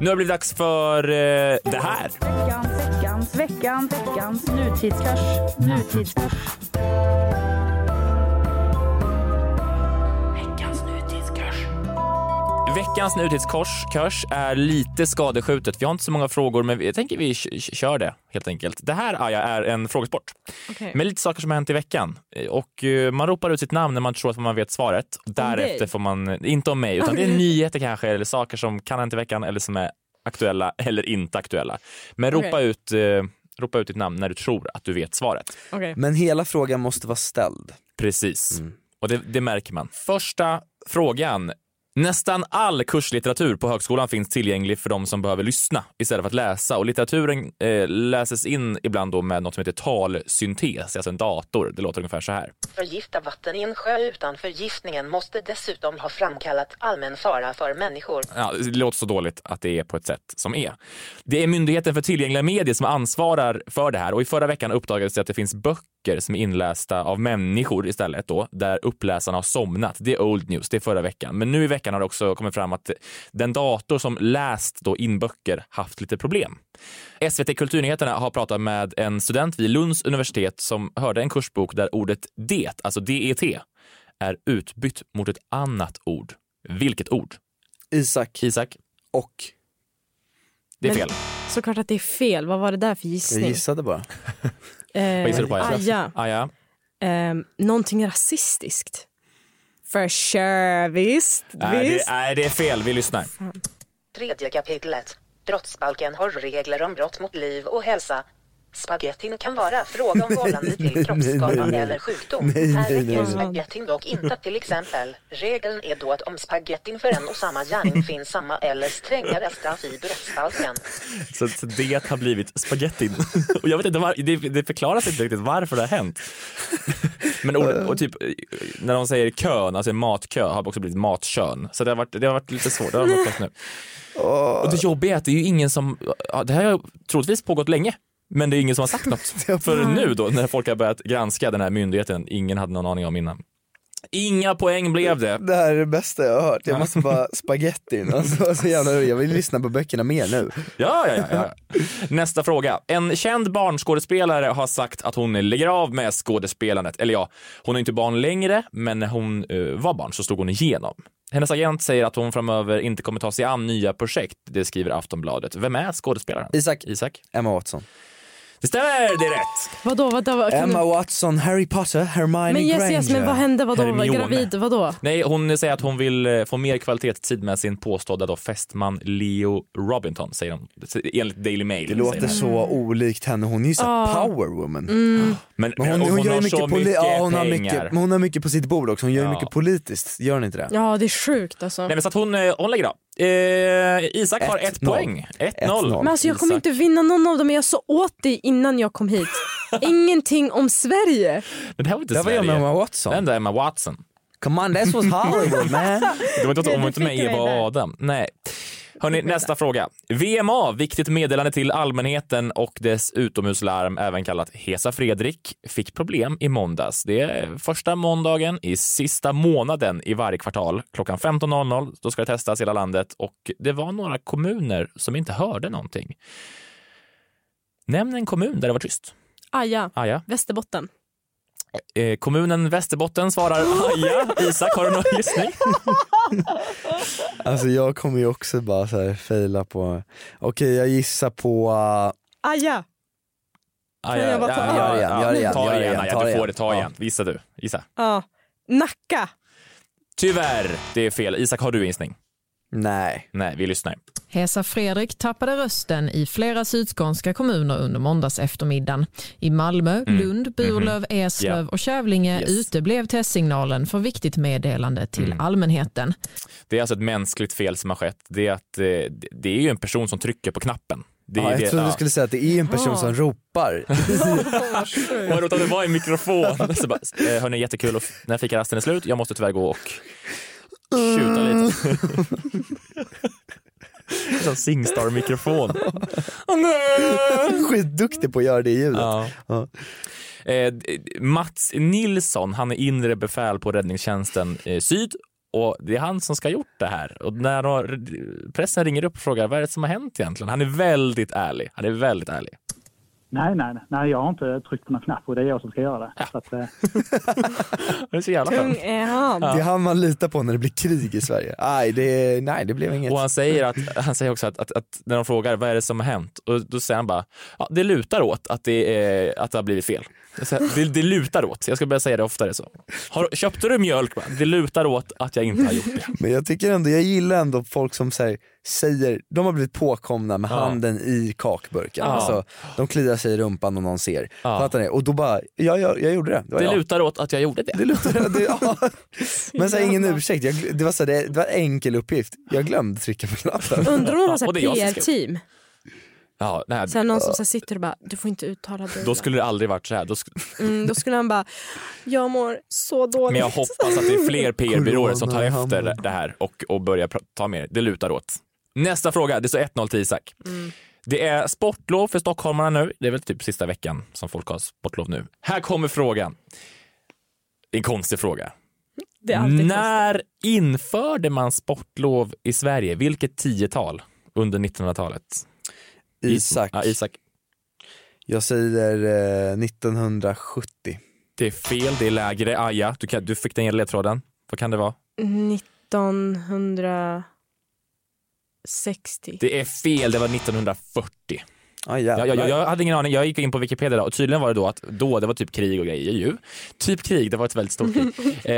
[SPEAKER 1] Nu har det blivit dags för eh, det här.
[SPEAKER 7] Veckans, veckans, veckans nutidskrush. Nutidskrush. Veckans nutidskrush.
[SPEAKER 1] Veckans nutidskurs kurs är lite skadeskjutet. Vi har inte så många frågor, men vi- jag tänker vi k- k- kör det helt enkelt. Det här Aja, är en frågesport
[SPEAKER 3] Okej.
[SPEAKER 1] med lite saker som har hänt i veckan. Eh, Och eh, man ropar ut sitt namn när man tror att man vet svaret. Därefter
[SPEAKER 3] dig?
[SPEAKER 1] får man, inte om mig, utan det är nyheter kanske eller saker som kan ha hänt i veckan eller som är aktuella eller inte aktuella. Men ropa,
[SPEAKER 3] Okej.
[SPEAKER 1] ut, eh, ropa ut ditt namn när du tror att du vet svaret.
[SPEAKER 3] Okej.
[SPEAKER 4] Men hela frågan måste vara ställd.
[SPEAKER 1] Precis.
[SPEAKER 4] Mm.
[SPEAKER 1] Och det, det märker man. Första frågan. Nästan all kurslitteratur på högskolan finns tillgänglig för de som behöver lyssna istället för att läsa. Och litteraturen eh, läses in ibland då med något som heter talsyntes, alltså en dator. Det låter ungefär så här.
[SPEAKER 8] Förgifta vatten i en sjö utan förgiftningen måste dessutom ha framkallat allmän fara för människor.
[SPEAKER 1] Ja, det låter så dåligt att det är på ett sätt som är. Det är Myndigheten för tillgängliga medier som ansvarar för det här och i förra veckan uppdagades det att det finns böcker som är inlästa av människor istället då, där uppläsarna har somnat. Det är old news, det är förra veckan. Men nu i veckan har det också kommit fram att den dator som läst då in böcker haft lite problem. SVT Kulturnyheterna har pratat med en student vid Lunds universitet som hörde en kursbok där ordet det, alltså DET, är utbytt mot ett annat ord. Vilket ord?
[SPEAKER 4] Isak
[SPEAKER 1] Isak?
[SPEAKER 4] och...
[SPEAKER 1] Det är
[SPEAKER 3] Men-
[SPEAKER 1] fel.
[SPEAKER 3] Såklart att det är fel. Vad var det där för
[SPEAKER 4] Jag
[SPEAKER 3] gissning?
[SPEAKER 4] gissade bara.
[SPEAKER 3] Eh,
[SPEAKER 1] Vad gissar du på? Aja?
[SPEAKER 3] Aja.
[SPEAKER 1] Aja.
[SPEAKER 3] Ehm, någonting rasistiskt. För sure, visst.
[SPEAKER 1] Nej, det,
[SPEAKER 3] visst.
[SPEAKER 1] nej, det är fel. Vi lyssnar.
[SPEAKER 8] Tredje kapitlet. Brottsbalken har regler om brott mot liv och hälsa. Spagettin kan vara fråga om vållande till kroppsskada eller sjukdom. Här räcker spagettin dock inte till exempel. Regeln är då att om spagettin för en och samma gärning finns samma eller strängare straff i brottsbalken.
[SPEAKER 1] Så, så det har blivit spagettin. [LAUGHS] Och jag vet inte var, det, det förklaras inte riktigt varför det har hänt. [LAUGHS] Men ordet, och typ, när de säger kön, alltså matkö, har också blivit matkön. Så det har varit, det har varit lite svårt. Det har varit svårt nu. Och det jobbiga är att det är ju ingen som, ja, det här har ju troligtvis pågått länge. Men [LAUGHS] det är ingen som har sagt något. För nu då, när folk har börjat granska den här myndigheten, ingen hade någon aning om innan. Inga poäng blev det.
[SPEAKER 4] Det här är det bästa jag har hört. Jag
[SPEAKER 1] [LAUGHS]
[SPEAKER 4] måste bara spagettin. Alltså, så jävla, jag vill lyssna på böckerna mer nu.
[SPEAKER 1] Ja, ja, ja, ja. Nästa fråga. En känd barnskådespelare har sagt att hon lägger av med skådespelandet. Eller ja, hon är inte barn längre, men när hon eh, var barn så slog hon igenom. Hennes agent säger att hon framöver inte kommer ta sig an nya projekt. Det skriver Aftonbladet. Vem är skådespelaren?
[SPEAKER 4] Isak,
[SPEAKER 1] Isak.
[SPEAKER 4] Emma Watson.
[SPEAKER 1] Det stämmer, det är rätt!
[SPEAKER 3] Vadå, vadå? vadå? Kan du-
[SPEAKER 4] Emma Watson, Harry Potter, Hermione
[SPEAKER 3] Men yes,
[SPEAKER 4] Granger.
[SPEAKER 3] yes, men vad hände? Vadå?
[SPEAKER 1] Hermione.
[SPEAKER 3] Gravid? Vadå?
[SPEAKER 1] Nej, hon säger att hon vill eh, få mer kvalitetstid med sin påstådda då fästman Leo Robinton, säger de. Enligt Daily Mail.
[SPEAKER 4] Det
[SPEAKER 1] säger de.
[SPEAKER 3] Mm.
[SPEAKER 4] låter så olikt henne, hon är ju så här power woman.
[SPEAKER 3] Mm.
[SPEAKER 1] Men, eh,
[SPEAKER 4] Men hon,
[SPEAKER 1] och
[SPEAKER 4] hon,
[SPEAKER 1] hon,
[SPEAKER 4] gör ju
[SPEAKER 1] har
[SPEAKER 4] mycket,
[SPEAKER 1] så
[SPEAKER 4] poli-
[SPEAKER 1] mycket
[SPEAKER 4] ja, hon har
[SPEAKER 1] pengar.
[SPEAKER 4] mycket, men hon har mycket på sitt bord också, hon gör ju
[SPEAKER 1] Ja.
[SPEAKER 4] mycket politiskt, gör hon inte det?
[SPEAKER 3] Ja, det är sjukt alltså.
[SPEAKER 1] Nej, men så att hon, eh, hon lägger av. Eh, Isak har ett poäng. 1-0.
[SPEAKER 3] Men alltså jag kommer
[SPEAKER 1] Isak.
[SPEAKER 3] inte vinna någon av dem, men jag sa åt dig innan jag kom [LAUGHS] hit. Ingenting om Sverige.
[SPEAKER 1] Men det här var inte
[SPEAKER 4] Det var ju
[SPEAKER 1] Sverige.
[SPEAKER 4] med Emma Watson.
[SPEAKER 1] Den där Emma Watson.
[SPEAKER 4] Come on, this was
[SPEAKER 1] [LAUGHS]
[SPEAKER 4] Hollywood man.
[SPEAKER 1] Det var
[SPEAKER 2] Nej,
[SPEAKER 1] inte, hon
[SPEAKER 2] du
[SPEAKER 1] var inte med
[SPEAKER 2] fick
[SPEAKER 1] Eva
[SPEAKER 2] mig där.
[SPEAKER 1] och Adam. Nej. Hörrni, nästa fråga. VMA, viktigt meddelande till allmänheten och dess utomhuslarm, även kallat Hesa Fredrik, fick problem i måndags. Det är första måndagen i sista månaden i varje kvartal. Klockan 15.00, då ska det testas i hela landet och det var några kommuner som inte hörde någonting. Nämn en kommun där det var tyst.
[SPEAKER 3] Aja,
[SPEAKER 1] Aja.
[SPEAKER 3] Västerbotten.
[SPEAKER 1] Eh, kommunen Västerbotten svarar Aja. Isak, har du någon gissning?
[SPEAKER 4] Alltså jag kommer ju också bara så här fejla på, okej jag gissar på, uh,
[SPEAKER 3] Aja.
[SPEAKER 1] Aja,
[SPEAKER 3] Kan jag bara ta- Gör
[SPEAKER 4] det igen, gör det igen,
[SPEAKER 1] Ta
[SPEAKER 4] gör det
[SPEAKER 1] igen,
[SPEAKER 4] igen,
[SPEAKER 1] Aja,
[SPEAKER 4] ta
[SPEAKER 1] du
[SPEAKER 4] det
[SPEAKER 1] får
[SPEAKER 4] igen.
[SPEAKER 1] det, ta
[SPEAKER 4] Ja.
[SPEAKER 1] igen. Visa du, gissa.
[SPEAKER 3] Ja. Nacka.
[SPEAKER 1] Tyvärr, det är fel. Isak, har du en gissning?
[SPEAKER 4] nej.
[SPEAKER 1] Nej, vi lyssnar.
[SPEAKER 9] Hesa Fredrik tappade rösten i flera sydskånska kommuner under måndags eftermiddagen. I Malmö, Lund, Burlöv, Eslöv
[SPEAKER 1] Mhm. Ja.
[SPEAKER 9] och Kävlinge
[SPEAKER 1] Mm. Yes. Mm.
[SPEAKER 9] uteblev testsignalen för viktigt meddelande till allmänheten.
[SPEAKER 1] Det är alltså ett mänskligt fel som har skett. Det är, att, eh, det- det är ju en person som trycker på knappen. Det är
[SPEAKER 4] ja,
[SPEAKER 1] det,
[SPEAKER 4] jag trodde
[SPEAKER 1] ja. Ah.
[SPEAKER 4] du skulle säga att det är en person
[SPEAKER 1] [LAUGHS]
[SPEAKER 4] som ropar.
[SPEAKER 1] Vad roligt att det var en mikrofon. [LAUGHS] Så bara, eh, hörni, jättekul. Och f- när fikarasten är slut, jag måste tyvärr gå och tjuta [LAUGHS]
[SPEAKER 4] Mm.
[SPEAKER 1] lite. Som
[SPEAKER 4] [LAUGHS]
[SPEAKER 1] Singstar-mikrofon.
[SPEAKER 4] Skitduktig på att göra det ljudet.
[SPEAKER 1] Ja.
[SPEAKER 4] Ja.
[SPEAKER 1] Eh, d- Mats Nilsson, han är inre befäl på räddningstjänsten eh, Syd och det är han som ska ha gjort det här. Och när de- pressen ringer upp och frågar vad är det som har hänt egentligen? Han är väldigt ärlig. Han är väldigt ärlig.
[SPEAKER 10] Nej, nej, nej, jag har inte tryckt på någon knapp och det är jag som ska göra det. Så att, eh,
[SPEAKER 1] Det är så jävla
[SPEAKER 3] Tung
[SPEAKER 1] skönt.
[SPEAKER 3] är han.
[SPEAKER 4] Det är han man litar på när det blir krig i Sverige. Aj, det, nej det blev inget.
[SPEAKER 1] Och han säger, att, han säger också att, att, att när de frågar vad är det som har hänt? Och då säger han bara, ja, det lutar åt att det, är, att det har blivit fel. Jag säger, Det, det lutar åt. Jag ska börja säga det oftare. Så. Har, köpte du mjölk? va? Det lutar åt att jag inte har gjort det.
[SPEAKER 4] Men jag tycker ändå, jag gillar ändå folk som så här, säger, de har blivit påkomna med
[SPEAKER 1] Ja.
[SPEAKER 4] handen i kakburken.
[SPEAKER 1] Ja.
[SPEAKER 4] Alltså, de kliar sig i rumpan och någon ser. Fattar ni? Och då bara, ja, jag, jag gjorde det. Det, var
[SPEAKER 1] Det
[SPEAKER 4] jag.
[SPEAKER 1] lutar åt att jag gjorde det. [LAUGHS]
[SPEAKER 4] Det lutar. Det, ja. Men så här, ingen ursäkt, jag, gl- det, var så här, det, det var en enkel uppgift. Jag glömde trycka på knappen.
[SPEAKER 3] Undrar om
[SPEAKER 1] Ja,
[SPEAKER 3] de har
[SPEAKER 1] och det är jag som ska-
[SPEAKER 3] PR-team.
[SPEAKER 1] Ja, nej,
[SPEAKER 3] Sen någon som så här sitter och bara, du får inte uttala dig.
[SPEAKER 1] Då skulle det aldrig varit så här. Då sk-
[SPEAKER 3] mm, då skulle han bara, jag mår så dåligt.
[SPEAKER 1] men jag hoppas att det är fler PR-byråer som tar
[SPEAKER 4] Corona i
[SPEAKER 1] efter
[SPEAKER 4] handen.
[SPEAKER 1] det här och, och börjar pra- ta med det. Det lutar åt. Nästa fråga. Det står 1-0 till Isak.
[SPEAKER 3] Mm.
[SPEAKER 1] Det är sportlov för stockholmarna nu. Det är väl typ sista veckan som folk har sportlov nu. Här kommer frågan. En konstig fråga.
[SPEAKER 3] Det är alltid
[SPEAKER 1] När införde man sportlov i Sverige? Vilket tiotal under 1900-talet?
[SPEAKER 4] Isak,
[SPEAKER 1] Ja, [LAUGHS] Isak.
[SPEAKER 4] jag säger eh, 1970.
[SPEAKER 1] Det är fel, det är lägre. Aja, du, kan, du fick den ledtråden. Vad kan det vara?
[SPEAKER 3] 1960.
[SPEAKER 1] Det är fel, det var 1940. Ja,
[SPEAKER 4] Ah, jävlar.
[SPEAKER 1] jag, jag, jag hade ingen aning, jag gick in på Wikipedia idag och tydligen var det då att då, det var typ krig och grejer ju. Typ krig, det var ett väldigt stort
[SPEAKER 3] [LAUGHS]
[SPEAKER 1] krig. Eh,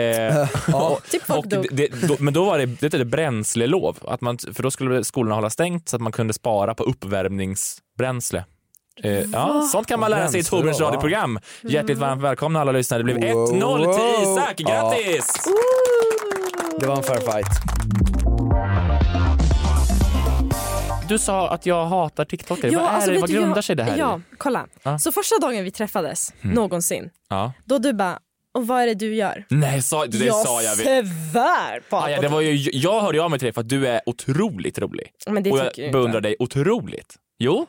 [SPEAKER 4] Ja.
[SPEAKER 3] Typ folk
[SPEAKER 1] och det,
[SPEAKER 3] dog.
[SPEAKER 1] det, då, men då var det, det hette det bränslelov, att man, för då skulle skolorna hålla stängt så att man kunde spara på uppvärmningsbränsle. Eh, ja, sånt kan man lära sig i
[SPEAKER 4] Bränslelov,
[SPEAKER 1] Torbjörns
[SPEAKER 4] ja.
[SPEAKER 1] radioprogram. Hjärtligt varmt välkomna alla lyssnare. Det blev
[SPEAKER 4] Wow.
[SPEAKER 1] 1-0 till Isak,
[SPEAKER 4] Ja.
[SPEAKER 1] grattis!
[SPEAKER 4] Det var en fair fight.
[SPEAKER 1] Du sa att jag hatar TikTokare,
[SPEAKER 3] Ja,
[SPEAKER 1] vad, är
[SPEAKER 3] alltså,
[SPEAKER 1] det,
[SPEAKER 3] vet
[SPEAKER 1] vad
[SPEAKER 3] du, jag-
[SPEAKER 1] grundar sig det här
[SPEAKER 3] Ja,
[SPEAKER 1] i?
[SPEAKER 3] kolla.
[SPEAKER 1] Ja. Mm.
[SPEAKER 3] Så första dagen vi träffades, någonsin,
[SPEAKER 1] Ja.
[SPEAKER 3] då du bara, och vad är det du gör?
[SPEAKER 1] Nej, sa, det sa jag. vet-
[SPEAKER 3] svär på
[SPEAKER 1] Ah, ja,
[SPEAKER 3] allt.
[SPEAKER 1] det var ju, jag hörde ju av mig till dig för att du är otroligt rolig.
[SPEAKER 3] Men det
[SPEAKER 1] och
[SPEAKER 3] tycker du
[SPEAKER 1] jag
[SPEAKER 3] inte.
[SPEAKER 1] beundrar dig otroligt.
[SPEAKER 3] [LAUGHS]
[SPEAKER 1] Jo.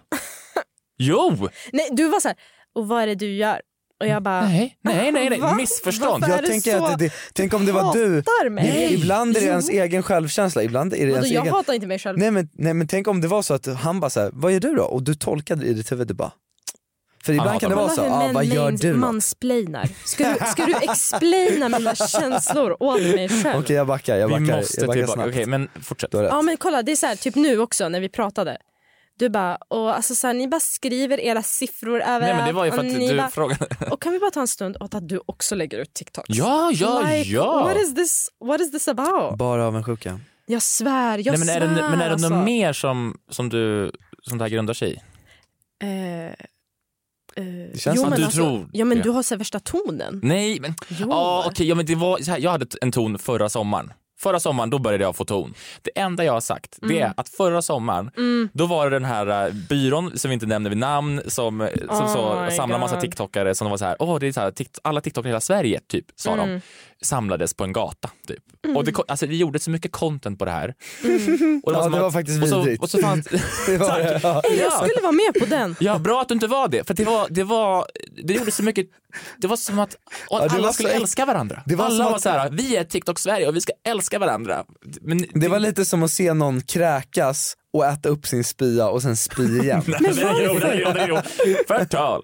[SPEAKER 1] jo!
[SPEAKER 3] Nej, du var så här, och vad är det du gör? Och jag bara,
[SPEAKER 1] Nej, nej, nej, nej.
[SPEAKER 3] Va?
[SPEAKER 1] missförstånd.
[SPEAKER 3] Varför är
[SPEAKER 4] Jag
[SPEAKER 3] det
[SPEAKER 4] tänker
[SPEAKER 3] så-
[SPEAKER 4] att det, det, tänk om det var du.
[SPEAKER 3] hatar mig.
[SPEAKER 4] Nej, Ibland är det
[SPEAKER 3] Jo.
[SPEAKER 4] ens egen självkänsla, ibland är det
[SPEAKER 3] vadå,
[SPEAKER 4] ens
[SPEAKER 3] jag
[SPEAKER 4] egen...
[SPEAKER 3] hatar inte mig själv.
[SPEAKER 4] Nej men, nej men tänk om det var så att han bara såhär, vad gör du då? Och du tolkade det i ditt huvud, du bara För ibland
[SPEAKER 1] hatar
[SPEAKER 4] kan det
[SPEAKER 1] mig.
[SPEAKER 4] vara så,
[SPEAKER 3] Kolla hur
[SPEAKER 4] ah,
[SPEAKER 3] män
[SPEAKER 4] vad gör
[SPEAKER 3] mains-
[SPEAKER 4] du då?
[SPEAKER 3] mansplainar. Ska du,
[SPEAKER 4] [LAUGHS]
[SPEAKER 3] ska du explaina mina känslor åt mig själv?
[SPEAKER 4] Okej jag backar, jag
[SPEAKER 1] Vi
[SPEAKER 4] backar,
[SPEAKER 1] måste
[SPEAKER 4] jag backar
[SPEAKER 1] tillbaka.
[SPEAKER 4] snabbt.
[SPEAKER 1] Okej, men fortsätt.
[SPEAKER 4] Du har rätt.
[SPEAKER 3] Ja men kolla, det är så här, typ nu också när vi pratade. Du bara, och alltså så här, ni bara skriver era siffror överallt.
[SPEAKER 1] Nej, men det var ju för
[SPEAKER 3] och
[SPEAKER 1] att
[SPEAKER 3] ni
[SPEAKER 1] du
[SPEAKER 3] bara,
[SPEAKER 1] frågade.
[SPEAKER 3] Och kan vi bara ta en stund åt att du också lägger ut TikToks?
[SPEAKER 1] Ja, ja,
[SPEAKER 3] like,
[SPEAKER 1] ja.
[SPEAKER 3] What is, this, what is this about?
[SPEAKER 4] Bara avundsjuka.
[SPEAKER 3] Jag svär, jag
[SPEAKER 1] nej, men
[SPEAKER 3] svär
[SPEAKER 1] är det, men är det
[SPEAKER 3] alltså.
[SPEAKER 1] något mer som, som, du, som det här grundar sig i?
[SPEAKER 3] Eh, eh,
[SPEAKER 4] Det känns som
[SPEAKER 3] men
[SPEAKER 4] att du
[SPEAKER 1] tror
[SPEAKER 3] Ja men
[SPEAKER 1] det. Mm.
[SPEAKER 3] du har så här värsta tonen.
[SPEAKER 1] Nej, men...
[SPEAKER 3] Jo.
[SPEAKER 1] Ah, okej, ja, men det var, så här, jag hade t- en ton förra sommaren Förra sommaren då började jag få ton. Det enda jag har sagt det är
[SPEAKER 11] Mm.
[SPEAKER 1] att förra sommaren
[SPEAKER 11] Mm.
[SPEAKER 1] då var det den här eh, byrån som vi inte nämner vid namn som, eh, som
[SPEAKER 11] Oh
[SPEAKER 1] så,
[SPEAKER 11] my
[SPEAKER 1] samlar massa
[SPEAKER 11] God.
[SPEAKER 1] tiktokare som var så här, åh det är så här, tikt- alla tiktokare i hela Sverige typ sa
[SPEAKER 11] Mm.
[SPEAKER 1] de samlades på en gata typ.
[SPEAKER 11] Mm.
[SPEAKER 1] Och det, ko- alltså, det gjordes så mycket content på det här.
[SPEAKER 3] mm.
[SPEAKER 1] [LAUGHS] Och
[SPEAKER 4] Ja,
[SPEAKER 1] som
[SPEAKER 4] det
[SPEAKER 1] att-
[SPEAKER 4] var faktiskt
[SPEAKER 1] och så,
[SPEAKER 4] vidrigt.
[SPEAKER 1] Och så
[SPEAKER 4] [LAUGHS]
[SPEAKER 1] fanns,
[SPEAKER 4] var det,
[SPEAKER 1] Tack.
[SPEAKER 4] ja.
[SPEAKER 3] Ey, Jag skulle vara med på den.
[SPEAKER 1] Ja, bra att du inte var det. För det var, det var, det gjorde så mycket, det var som att, och
[SPEAKER 4] Ja,
[SPEAKER 1] att
[SPEAKER 4] det
[SPEAKER 1] alla
[SPEAKER 4] var
[SPEAKER 1] skulle
[SPEAKER 4] så-
[SPEAKER 1] älska varandra.
[SPEAKER 4] det var
[SPEAKER 1] alla
[SPEAKER 4] som
[SPEAKER 1] var
[SPEAKER 4] att-
[SPEAKER 1] så här, vi är TikTok-Sverige och vi ska älska varandra. Men
[SPEAKER 4] Det var lite som att se någon kräkas och äta upp sin spya och
[SPEAKER 1] [LAUGHS]
[SPEAKER 4] sen spy igen.
[SPEAKER 1] Nej, [LAUGHS] jo, nej, jo, nej, jo.
[SPEAKER 11] [LAUGHS]
[SPEAKER 1] Förtal.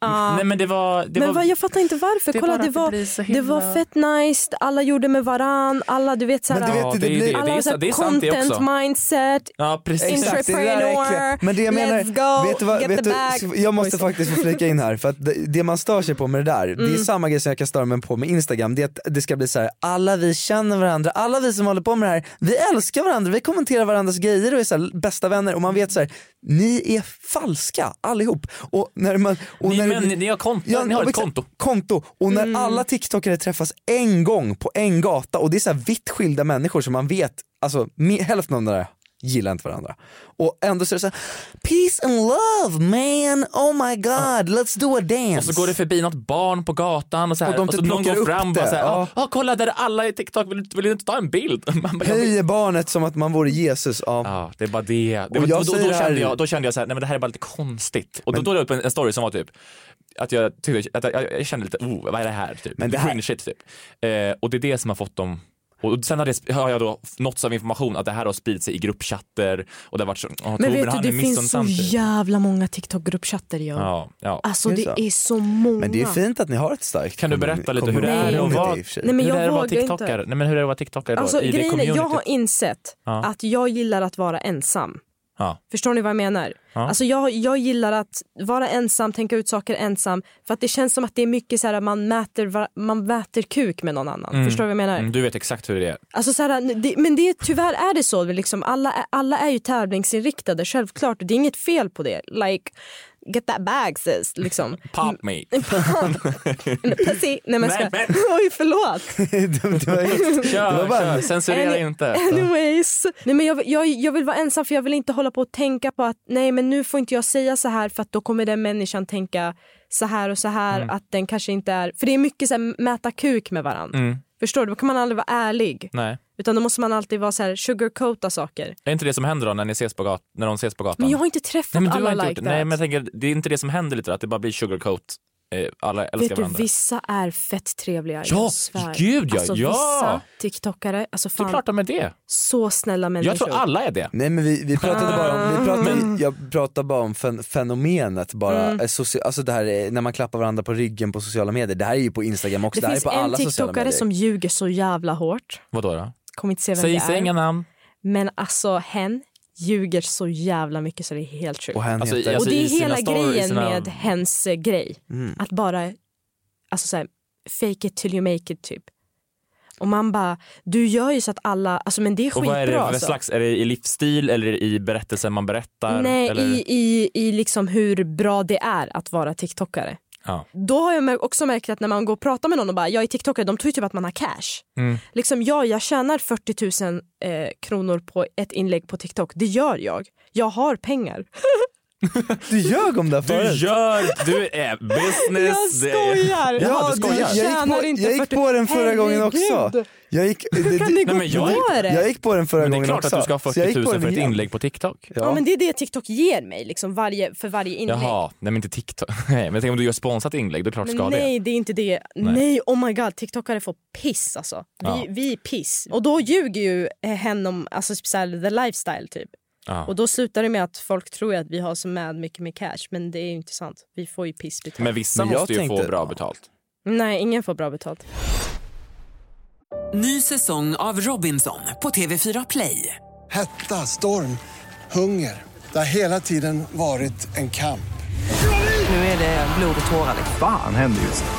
[SPEAKER 3] Ah.
[SPEAKER 1] Nej men det var, det
[SPEAKER 3] men
[SPEAKER 1] var,
[SPEAKER 3] vad, jag fattar inte varför.
[SPEAKER 1] Det är
[SPEAKER 3] Kolla,
[SPEAKER 1] bara
[SPEAKER 3] det
[SPEAKER 1] att det
[SPEAKER 3] var,
[SPEAKER 1] blir så
[SPEAKER 3] det,
[SPEAKER 1] himla-
[SPEAKER 3] var fett nice, alla gjorde med varann, alla du vet såhär,
[SPEAKER 4] Men du vet, Ja, det det blir- är det.
[SPEAKER 3] alla
[SPEAKER 4] Det är
[SPEAKER 3] har så
[SPEAKER 4] sa-
[SPEAKER 3] här
[SPEAKER 4] det är sant det
[SPEAKER 3] content
[SPEAKER 4] också.
[SPEAKER 3] mindset,
[SPEAKER 1] ja,
[SPEAKER 4] Exakt, det där är äckliga.
[SPEAKER 3] entreprenör,
[SPEAKER 4] Men det jag menar,
[SPEAKER 3] let's go,
[SPEAKER 4] vet du vad,
[SPEAKER 3] get
[SPEAKER 4] vet
[SPEAKER 3] the
[SPEAKER 4] du,
[SPEAKER 3] bag.
[SPEAKER 4] jag måste
[SPEAKER 3] Oj, så-
[SPEAKER 4] faktiskt få flika in här för att det, det man stör sig på med det där, det är
[SPEAKER 3] Mm.
[SPEAKER 4] samma grej som jag kan störa mig på med Instagram, det är att det ska bli så här: alla vi känner varandra, alla vi som håller på med det här, vi älskar varandra, vi kommenterar varandras grejer och är så här, bästa vänner och man vet så här, ni är falska allihop. Och när man, och
[SPEAKER 1] Ni
[SPEAKER 4] när,
[SPEAKER 1] män, ni- ni har konto, ni har ett
[SPEAKER 4] exakt.
[SPEAKER 1] konto.
[SPEAKER 4] konto. Och när alla TikTokare träffas en gång på en gata och det är så här vitt skilda människor som man vet, alltså mi- hälften av de där gillar inte varandra. Och ändå så är det så här, peace and love man, oh my god, let's do a dance.
[SPEAKER 1] och så går det förbi något barn på gatan och så här,
[SPEAKER 4] Och
[SPEAKER 1] så
[SPEAKER 4] de typ
[SPEAKER 1] någon
[SPEAKER 4] plockar
[SPEAKER 1] går
[SPEAKER 4] upp
[SPEAKER 1] fram och bara
[SPEAKER 4] det,
[SPEAKER 1] så här,
[SPEAKER 4] ja.
[SPEAKER 1] ja. ah, kolla där är alla i TikTok, vill, du- vill du inte ta en bild? [LAUGHS] Man bara, jag vill-
[SPEAKER 4] Höjer barnet som att man vore Jesus. Ja.
[SPEAKER 1] det är bara det. Det
[SPEAKER 4] Och
[SPEAKER 1] var,
[SPEAKER 4] jag
[SPEAKER 1] då, då,
[SPEAKER 4] säger
[SPEAKER 1] då,
[SPEAKER 4] det här-
[SPEAKER 1] kände jag, då kände jag så här, nej men det här är bara lite konstigt. Och då, då la jag upp en, en story som var typ, att jag, tyckte, att jag, jag kände lite, oh, vad är det här? Typ.
[SPEAKER 4] Men det här-
[SPEAKER 1] Cringe shit typ. Eh, och det är det som har fått dem och sen har, det, har jag då nåtts av information att det här har spridit sig i gruppchatter och det har varit så, oh,
[SPEAKER 3] Men
[SPEAKER 1] Torbjörn,
[SPEAKER 3] vet
[SPEAKER 1] han
[SPEAKER 3] du,
[SPEAKER 1] är
[SPEAKER 3] det finns så
[SPEAKER 1] missunnsam typ.
[SPEAKER 3] jävla många TikTok-gruppchatter jag.
[SPEAKER 1] Ja, ja.
[SPEAKER 3] Alltså det är så många.
[SPEAKER 4] Men det är fint att ni har ett starkt
[SPEAKER 1] Kan du berätta lite hur det är att
[SPEAKER 4] community
[SPEAKER 1] vara
[SPEAKER 4] i och för sig.
[SPEAKER 3] Nej, men
[SPEAKER 1] hur
[SPEAKER 3] jag
[SPEAKER 1] det är att vara
[SPEAKER 3] vågar inte.
[SPEAKER 1] tiktokare? Nej men hur är det att vara tiktokare då?
[SPEAKER 3] Alltså,
[SPEAKER 1] I det
[SPEAKER 3] grejen är, jag
[SPEAKER 1] communityt?
[SPEAKER 3] har insett
[SPEAKER 1] Ja.
[SPEAKER 3] att jag gillar att vara ensam.
[SPEAKER 1] Ja.
[SPEAKER 3] Förstår ni vad jag menar?
[SPEAKER 1] Ja.
[SPEAKER 3] Alltså jag, jag gillar att vara ensam, tänka ut saker ensam. För att det känns som att det är mycket så här, man mäter, var- man mäter kuk med någon annan.
[SPEAKER 1] Mm.
[SPEAKER 3] Förstår du vad jag menar?
[SPEAKER 1] Mm, du vet exakt hur det är.
[SPEAKER 3] Alltså så här, det, men det, tyvärr är det så. Liksom, alla, är- alla är ju tävlingsinriktade, självklart. Det är inget fel på det. Like, get that bag sis.
[SPEAKER 1] [LAUGHS]
[SPEAKER 3] Liksom.
[SPEAKER 1] Pop
[SPEAKER 3] [LAUGHS]
[SPEAKER 1] me.
[SPEAKER 3] Pussy. Nej men,
[SPEAKER 1] Nej,
[SPEAKER 3] ska, [LAUGHS] Oj, förlåt.
[SPEAKER 4] det var, just,
[SPEAKER 1] Kör,
[SPEAKER 4] det var
[SPEAKER 1] kör.
[SPEAKER 4] bara,
[SPEAKER 1] Censurera inte.
[SPEAKER 3] Anyways. Nej, men jag, jag, jag vill vara ensam för jag vill inte hålla på och tänka på att nej men nu får inte jag säga så här för att då kommer den människan tänka så här och så här
[SPEAKER 1] Mm.
[SPEAKER 3] att den kanske inte är... För det är mycket så här, mäta kuk med varandra.
[SPEAKER 1] Mm.
[SPEAKER 3] Förstår du? Då kan man aldrig vara ärlig.
[SPEAKER 1] Nej.
[SPEAKER 3] Utan då måste man alltid vara så här sugarcoata saker.
[SPEAKER 1] Är inte det som händer då när, ni ses på gat- när de ses på gatan?
[SPEAKER 3] Men jag har inte träffat
[SPEAKER 1] Nej men du
[SPEAKER 3] alla
[SPEAKER 1] har inte
[SPEAKER 3] like
[SPEAKER 1] gjort det.
[SPEAKER 3] that.
[SPEAKER 1] Nej men jag tänker, det är inte det som händer lite då, att det bara blir sugarcoat. Eh, Alla älskar
[SPEAKER 3] Vet du,
[SPEAKER 1] varandra.
[SPEAKER 3] vissa är fett trevliga.
[SPEAKER 1] Ja,
[SPEAKER 3] jag svär.
[SPEAKER 1] gud, ja,
[SPEAKER 3] Alltså,
[SPEAKER 1] ja.
[SPEAKER 3] Vissa tiktokare, alltså fan.
[SPEAKER 1] Det är klart de är det.
[SPEAKER 3] Så snälla människor.
[SPEAKER 1] Jag tror alla är det.
[SPEAKER 4] Nej men vi, vi pratade bara om, vi
[SPEAKER 3] Mm.
[SPEAKER 4] pratade, jag pratade bara om fen, fenomenet bara,
[SPEAKER 3] Mm.
[SPEAKER 4] eh, soci, alltså det här eh, när man klappar varandra på ryggen på sociala medier, det här är ju på instagram också,
[SPEAKER 3] Det,
[SPEAKER 4] det, här är
[SPEAKER 3] finns
[SPEAKER 4] på
[SPEAKER 3] en
[SPEAKER 4] alla sociala medier.
[SPEAKER 3] tiktokare som ljuger så jävla hårt.
[SPEAKER 1] Vadå då?
[SPEAKER 3] Kommer inte se vem
[SPEAKER 1] Säg-
[SPEAKER 3] det är.
[SPEAKER 1] säg inga namn.
[SPEAKER 3] Men alltså hen ljuger så jävla mycket så det är helt sjukt.
[SPEAKER 4] Och hen Alltså, heter- i-
[SPEAKER 3] Och det är
[SPEAKER 4] alltså, i
[SPEAKER 3] hela
[SPEAKER 4] sina stories,
[SPEAKER 3] grejen
[SPEAKER 4] sina-
[SPEAKER 3] med hens eh, grej.
[SPEAKER 4] Mm.
[SPEAKER 3] Att bara, alltså såhär, fake it till you make it typ. Och man bara, du gör ju så att alla, alltså men det är
[SPEAKER 1] Och
[SPEAKER 3] skitbra
[SPEAKER 1] vad är det för
[SPEAKER 3] alltså.
[SPEAKER 1] slags, är det i livsstil eller i berättelsen man berättar?
[SPEAKER 3] Nej,
[SPEAKER 1] eller?
[SPEAKER 3] i, i, i liksom hur bra det är att vara tiktokare.
[SPEAKER 1] Ja.
[SPEAKER 3] Då har jag mär- också märkt att när man går och pratar med någon och bara jag är tiktokare, de tror ju typ att man har cash.
[SPEAKER 1] Mm.
[SPEAKER 3] Liksom jag, jag tjänar 40 000 eh, kronor på ett inlägg på TikTok. Det gör jag. Jag har pengar.
[SPEAKER 4] Du ljög om det här
[SPEAKER 1] Du
[SPEAKER 4] förut.
[SPEAKER 1] gör, du
[SPEAKER 3] [LAUGHS]
[SPEAKER 1] är business.
[SPEAKER 4] Jag
[SPEAKER 3] skojar.
[SPEAKER 1] Det...
[SPEAKER 4] Ja,
[SPEAKER 1] Jaha, du
[SPEAKER 4] det-
[SPEAKER 1] skojar.
[SPEAKER 4] jag, gick på,
[SPEAKER 3] Tjänar inte
[SPEAKER 4] jag gick
[SPEAKER 3] 40
[SPEAKER 4] på den förra gången också.
[SPEAKER 3] Herregud.
[SPEAKER 4] Jag gick, Hur
[SPEAKER 3] kan ni gå
[SPEAKER 4] jag,
[SPEAKER 3] på
[SPEAKER 4] gick-
[SPEAKER 3] det?
[SPEAKER 4] jag gick på den förra
[SPEAKER 1] Men det är
[SPEAKER 4] gången
[SPEAKER 1] klart att
[SPEAKER 4] också.
[SPEAKER 1] du ska ha
[SPEAKER 4] Så jag gick
[SPEAKER 1] 40
[SPEAKER 4] på
[SPEAKER 1] 000 för
[SPEAKER 4] den
[SPEAKER 1] ett
[SPEAKER 4] igen.
[SPEAKER 1] inlägg på TikTok.
[SPEAKER 3] Ja. men det är det TikTok ger mig liksom varje, för varje inlägg.
[SPEAKER 1] Jaha, nej men inte TikTok. [LAUGHS] Nej, men jag tänker om du gör sponsrat inlägg, då är det klart du
[SPEAKER 3] Men
[SPEAKER 1] ska ha det.
[SPEAKER 3] nej, det. är inte det.
[SPEAKER 1] Nej.
[SPEAKER 3] Nej. oh my god, tiktokare får piss alltså. Vi,
[SPEAKER 1] Ja.
[SPEAKER 3] vi är piss. Och då ljuger ju eh, hen om alltså, så här, the lifestyle typ.
[SPEAKER 1] Ja.
[SPEAKER 3] Och då slutar det med att folk tror att vi har så mad mycket med cash, men det är ju inte sant. Vi får ju piss betalt.
[SPEAKER 1] Men vissa
[SPEAKER 4] Men jag
[SPEAKER 1] måste ju få
[SPEAKER 4] tänkte-
[SPEAKER 1] bra betalt.
[SPEAKER 3] Nej, ingen får bra betalt.
[SPEAKER 5] Ny säsong av Robinson på TV4 Play.
[SPEAKER 6] Hetta, storm, hunger. Det har hela tiden varit en kamp.
[SPEAKER 5] Nu är det blod och tårar. liksom.
[SPEAKER 12] Fan händer just det.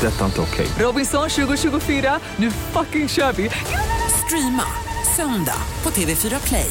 [SPEAKER 12] Det är detta inte okej.
[SPEAKER 5] Robinson 2024, nu fucking kör vi! Streama söndag på TV4 Play.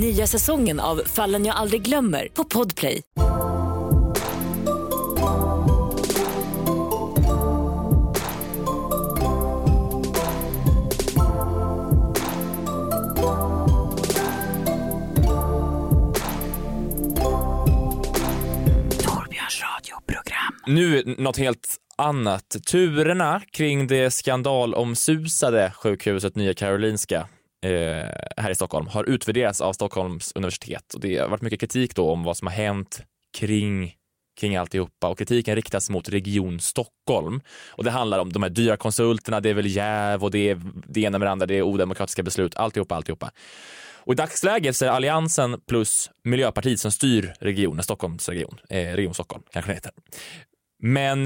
[SPEAKER 7] Nya säsongen av Fallen jag aldrig glömmer på Podplay.
[SPEAKER 5] Torbjörns radioprogram.
[SPEAKER 1] Nu något helt annat. Turerna kring det skandalomsusade sjukhuset Nya Karolinska eh, här i Stockholm har utvärderats av Stockholms universitet och det har varit mycket kritik då om vad som har hänt kring kring alltihopa och kritiken riktas mot Region Stockholm. Och det handlar om de här dyra konsulterna, det är väl jäv och det är det ena med det andra, det är odemokratiska beslut, alltihopa, alltihopa. Och i dagsläget så är det Alliansen plus Miljöpartiet som styr regionen, Stockholms region, eh, Region Stockholm kanske det heter. Men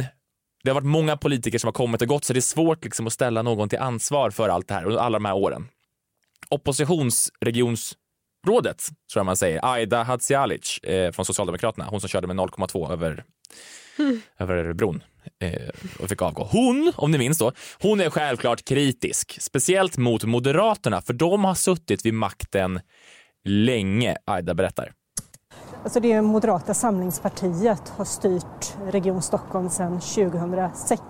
[SPEAKER 1] det har varit många politiker som har kommit och gått så det är svårt liksom att ställa någon till ansvar för allt det här under alla de här åren. Oppositionsregionsrådet, tror jag man säger, Aida Hadzialic eh, från Socialdemokraterna, hon som körde med 0,2 över,
[SPEAKER 3] Hmm.
[SPEAKER 5] Mm.
[SPEAKER 1] över bron eh, och fick avgå. Hon, om ni minns då, hon är självklart kritisk, speciellt mot Moderaterna, för de har suttit vid makten länge, Aida berättar.
[SPEAKER 13] Alltså det Moderata samlingspartiet har styrt Region Stockholm sedan 2006.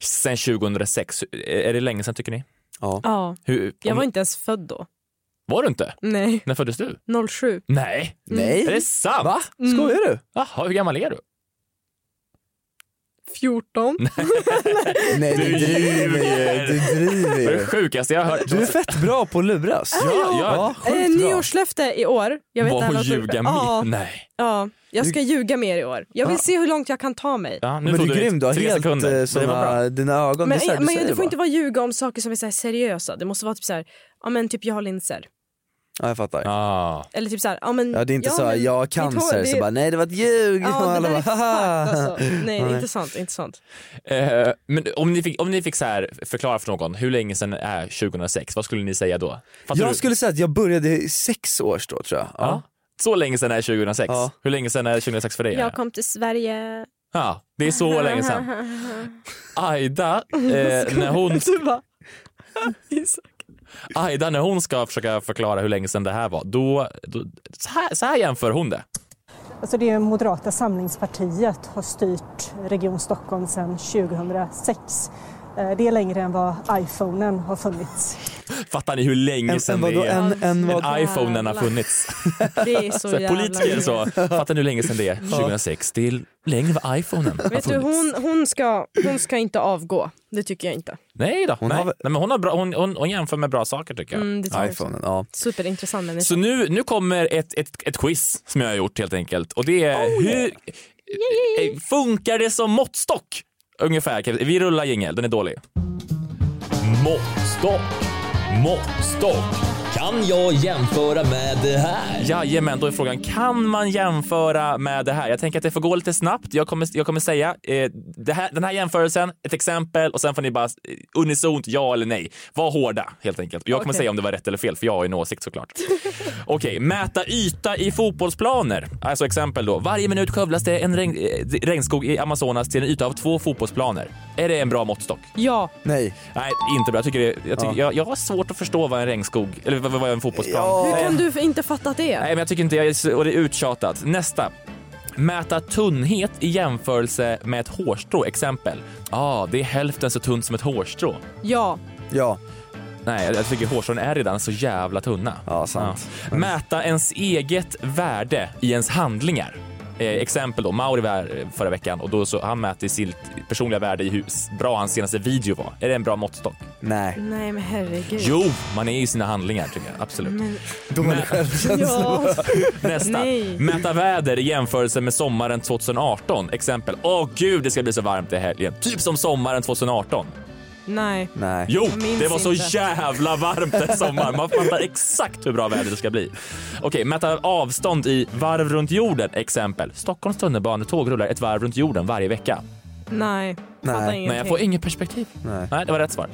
[SPEAKER 1] Sen 2006, är det länge sedan tycker ni?
[SPEAKER 3] Ja.
[SPEAKER 1] Hur, om,
[SPEAKER 3] Jag var inte ens född då.
[SPEAKER 1] var du inte?
[SPEAKER 3] Nej.
[SPEAKER 1] När föddes du?
[SPEAKER 3] 07.
[SPEAKER 4] Mm.
[SPEAKER 1] Nej.
[SPEAKER 3] Nej.
[SPEAKER 1] Är det sant?
[SPEAKER 3] Va? Skojar
[SPEAKER 1] du? Jaha, hur gammal är du?
[SPEAKER 3] 14.
[SPEAKER 4] Nej, du driver ju. Du driver
[SPEAKER 1] Det är
[SPEAKER 4] ju.
[SPEAKER 1] det sjukaste jag har hört.
[SPEAKER 4] Du är fett bra på att luras.
[SPEAKER 1] Ja, ja.
[SPEAKER 3] Eh, nyårslöfte i år. Jag vet
[SPEAKER 1] Vad
[SPEAKER 3] inte
[SPEAKER 1] hon
[SPEAKER 3] annars-
[SPEAKER 4] alltså-
[SPEAKER 1] ljuga mer?
[SPEAKER 3] ja.
[SPEAKER 1] Nej.
[SPEAKER 3] ja, jag ska
[SPEAKER 4] Du-
[SPEAKER 3] ljuga mer i år. Jag vill
[SPEAKER 4] Ja.
[SPEAKER 3] se hur långt jag kan ta mig.
[SPEAKER 1] Ja,
[SPEAKER 4] men du är grym, du har
[SPEAKER 1] tre
[SPEAKER 4] helt
[SPEAKER 1] sekunder.
[SPEAKER 4] eh,
[SPEAKER 1] Det var bra.
[SPEAKER 4] såna, dina ögon.
[SPEAKER 3] Men, eh,
[SPEAKER 4] det är så här, du
[SPEAKER 3] men
[SPEAKER 4] säger
[SPEAKER 3] det får
[SPEAKER 4] bara.
[SPEAKER 3] inte vara ljuga om saker som är så här seriösa. Det måste vara typ så här, ja men typ jag har linser.
[SPEAKER 4] Ja, jag fattar.
[SPEAKER 3] Eller typ så här, ja men...
[SPEAKER 4] Ja, det är inte så här,
[SPEAKER 3] men
[SPEAKER 4] jag har
[SPEAKER 3] mitt
[SPEAKER 4] cancer,
[SPEAKER 3] hår,
[SPEAKER 4] så bara nej det var ett ljug.
[SPEAKER 3] Ja,
[SPEAKER 4] [LAUGHS] och
[SPEAKER 3] det
[SPEAKER 4] alla
[SPEAKER 3] där är
[SPEAKER 4] bara,
[SPEAKER 3] fucked,
[SPEAKER 4] haha.
[SPEAKER 3] alltså. Nej,
[SPEAKER 1] Nej.
[SPEAKER 3] inte sant, inte sant.
[SPEAKER 1] Eh, men om ni fick, om ni fick så här förklara för någon hur länge sedan är 2006, vad skulle ni säga då? Fattar
[SPEAKER 4] Jag
[SPEAKER 1] du?
[SPEAKER 4] skulle säga att jag började i sex års då tror jag. Ja.
[SPEAKER 1] Ja. Så länge sedan är 2006. Hur länge sedan är 2006 för dig?
[SPEAKER 3] Jag kom till Sverige...
[SPEAKER 1] Ja, det är så länge sedan. Aida, eh, när hon,
[SPEAKER 3] Du bara... Isak.
[SPEAKER 1] [LAUGHS] Aida, när hon ska försöka förklara hur länge sedan det här var, då, då, så, här, så här jämför hon det.
[SPEAKER 13] Alltså det Moderata samlingspartiet har styrt Region Stockholm sedan 2006. Eh, Det är längre än vad iPhonen har funnits.
[SPEAKER 1] Fattar ni hur länge
[SPEAKER 4] En-
[SPEAKER 1] sedan
[SPEAKER 4] en vadå?
[SPEAKER 1] det är?
[SPEAKER 4] En- en vad-
[SPEAKER 1] iPhone har funnits.
[SPEAKER 3] Det är så,
[SPEAKER 1] Så här,
[SPEAKER 3] jävla
[SPEAKER 1] politiker
[SPEAKER 3] länge.
[SPEAKER 1] så, fattar ni hur länge sedan det är? 2006, det är längre än vad iPhonen har
[SPEAKER 3] Vet du,
[SPEAKER 1] funnits.
[SPEAKER 3] hon, hon, ska, hon ska inte avgå. Det tycker jag inte. Mm,
[SPEAKER 1] Nej då, hon, nej. Nej, men hon, har bra, hon, hon, hon jämför med bra saker tycker jag.
[SPEAKER 3] Mm, det tror jag
[SPEAKER 4] iPhonen, ja.
[SPEAKER 3] Superintressant människa.
[SPEAKER 1] Så nu, nu kommer ett, ett, ett quiz som jag har gjort helt enkelt. Och det är hur eh, funkar det som måttstock? Ungefär. Vi rullar jingel, den är dålig. Måttstock, måttstock. Kan jag jämföra med det här? Jajamän, då är frågan kan man jämföra med det här? Jag tänker att det får gå lite snabbt. Jag kommer, jag kommer säga eh, det här, den här jämförelsen, ett exempel och sen får ni bara eh, unisont ja eller nej. Var hårda helt enkelt. Jag kommer
[SPEAKER 14] Okej.
[SPEAKER 1] säga om det var rätt eller fel för jag har ju en åsikt såklart. Okej, mäta yta i fotbollsplaner. Alltså exempel då. Varje minut skövlas det en regn, eh, regnskog i Amazonas till en yta av två fotbollsplaner. Är det en bra måttstock?
[SPEAKER 3] Ja.
[SPEAKER 4] Nej.
[SPEAKER 1] Nej, inte bra. Jag, tycker det, jag, tycker,
[SPEAKER 4] Ja.
[SPEAKER 1] jag, jag har svårt att förstå vad en regnskog, eller vad, vad en fotbollsplan
[SPEAKER 3] Hur
[SPEAKER 1] är.
[SPEAKER 3] kan du inte fatta det?
[SPEAKER 1] Nej, men jag tycker inte jag är, så- och det är uttjatat. Nästa. Mäta tunnhet i jämförelse med ett hårstrå. Exempel. Ja, ah, det är hälften så tunt som ett hårstrå.
[SPEAKER 3] Ja.
[SPEAKER 4] Ja.
[SPEAKER 1] Nej, jag tycker hårstrån är redan så jävla tunna.
[SPEAKER 4] Ja, sant.
[SPEAKER 1] Mäta ens eget värde i ens handlingar. Eh, exempel då, Mauri var här eh, förra veckan och då så han mäter sitt personliga värde i hur bra hans senaste video var. Är det en bra måttstock?
[SPEAKER 4] Nej.
[SPEAKER 3] Nej, men herregud.
[SPEAKER 1] Jo, man är i sina handlingar tycker jag. Absolut.
[SPEAKER 3] Men...
[SPEAKER 4] De hade [LAUGHS] självkänsla.
[SPEAKER 1] Nästa.
[SPEAKER 3] Nej.
[SPEAKER 1] Mäta väder i jämförelse med sommaren 2018. Exempel. Åh gud, det ska bli så varmt i helgen. Typ som sommaren 2018.
[SPEAKER 3] Nej.
[SPEAKER 4] Nej.
[SPEAKER 1] Jo,
[SPEAKER 3] Jag minns
[SPEAKER 1] det var så
[SPEAKER 3] inte.
[SPEAKER 1] jävla varmt den sommaren. Man fattar exakt hur bra väder det ska bli. Okej, mäta avstånd i varv runt jorden. Exempel. Stockholms tunnelbanetåg rullar ett varv runt jorden varje vecka.
[SPEAKER 3] Nej. Fattar
[SPEAKER 1] Nej,
[SPEAKER 3] ingenting.
[SPEAKER 1] jag får inget perspektiv. Nej, det var rätt svar.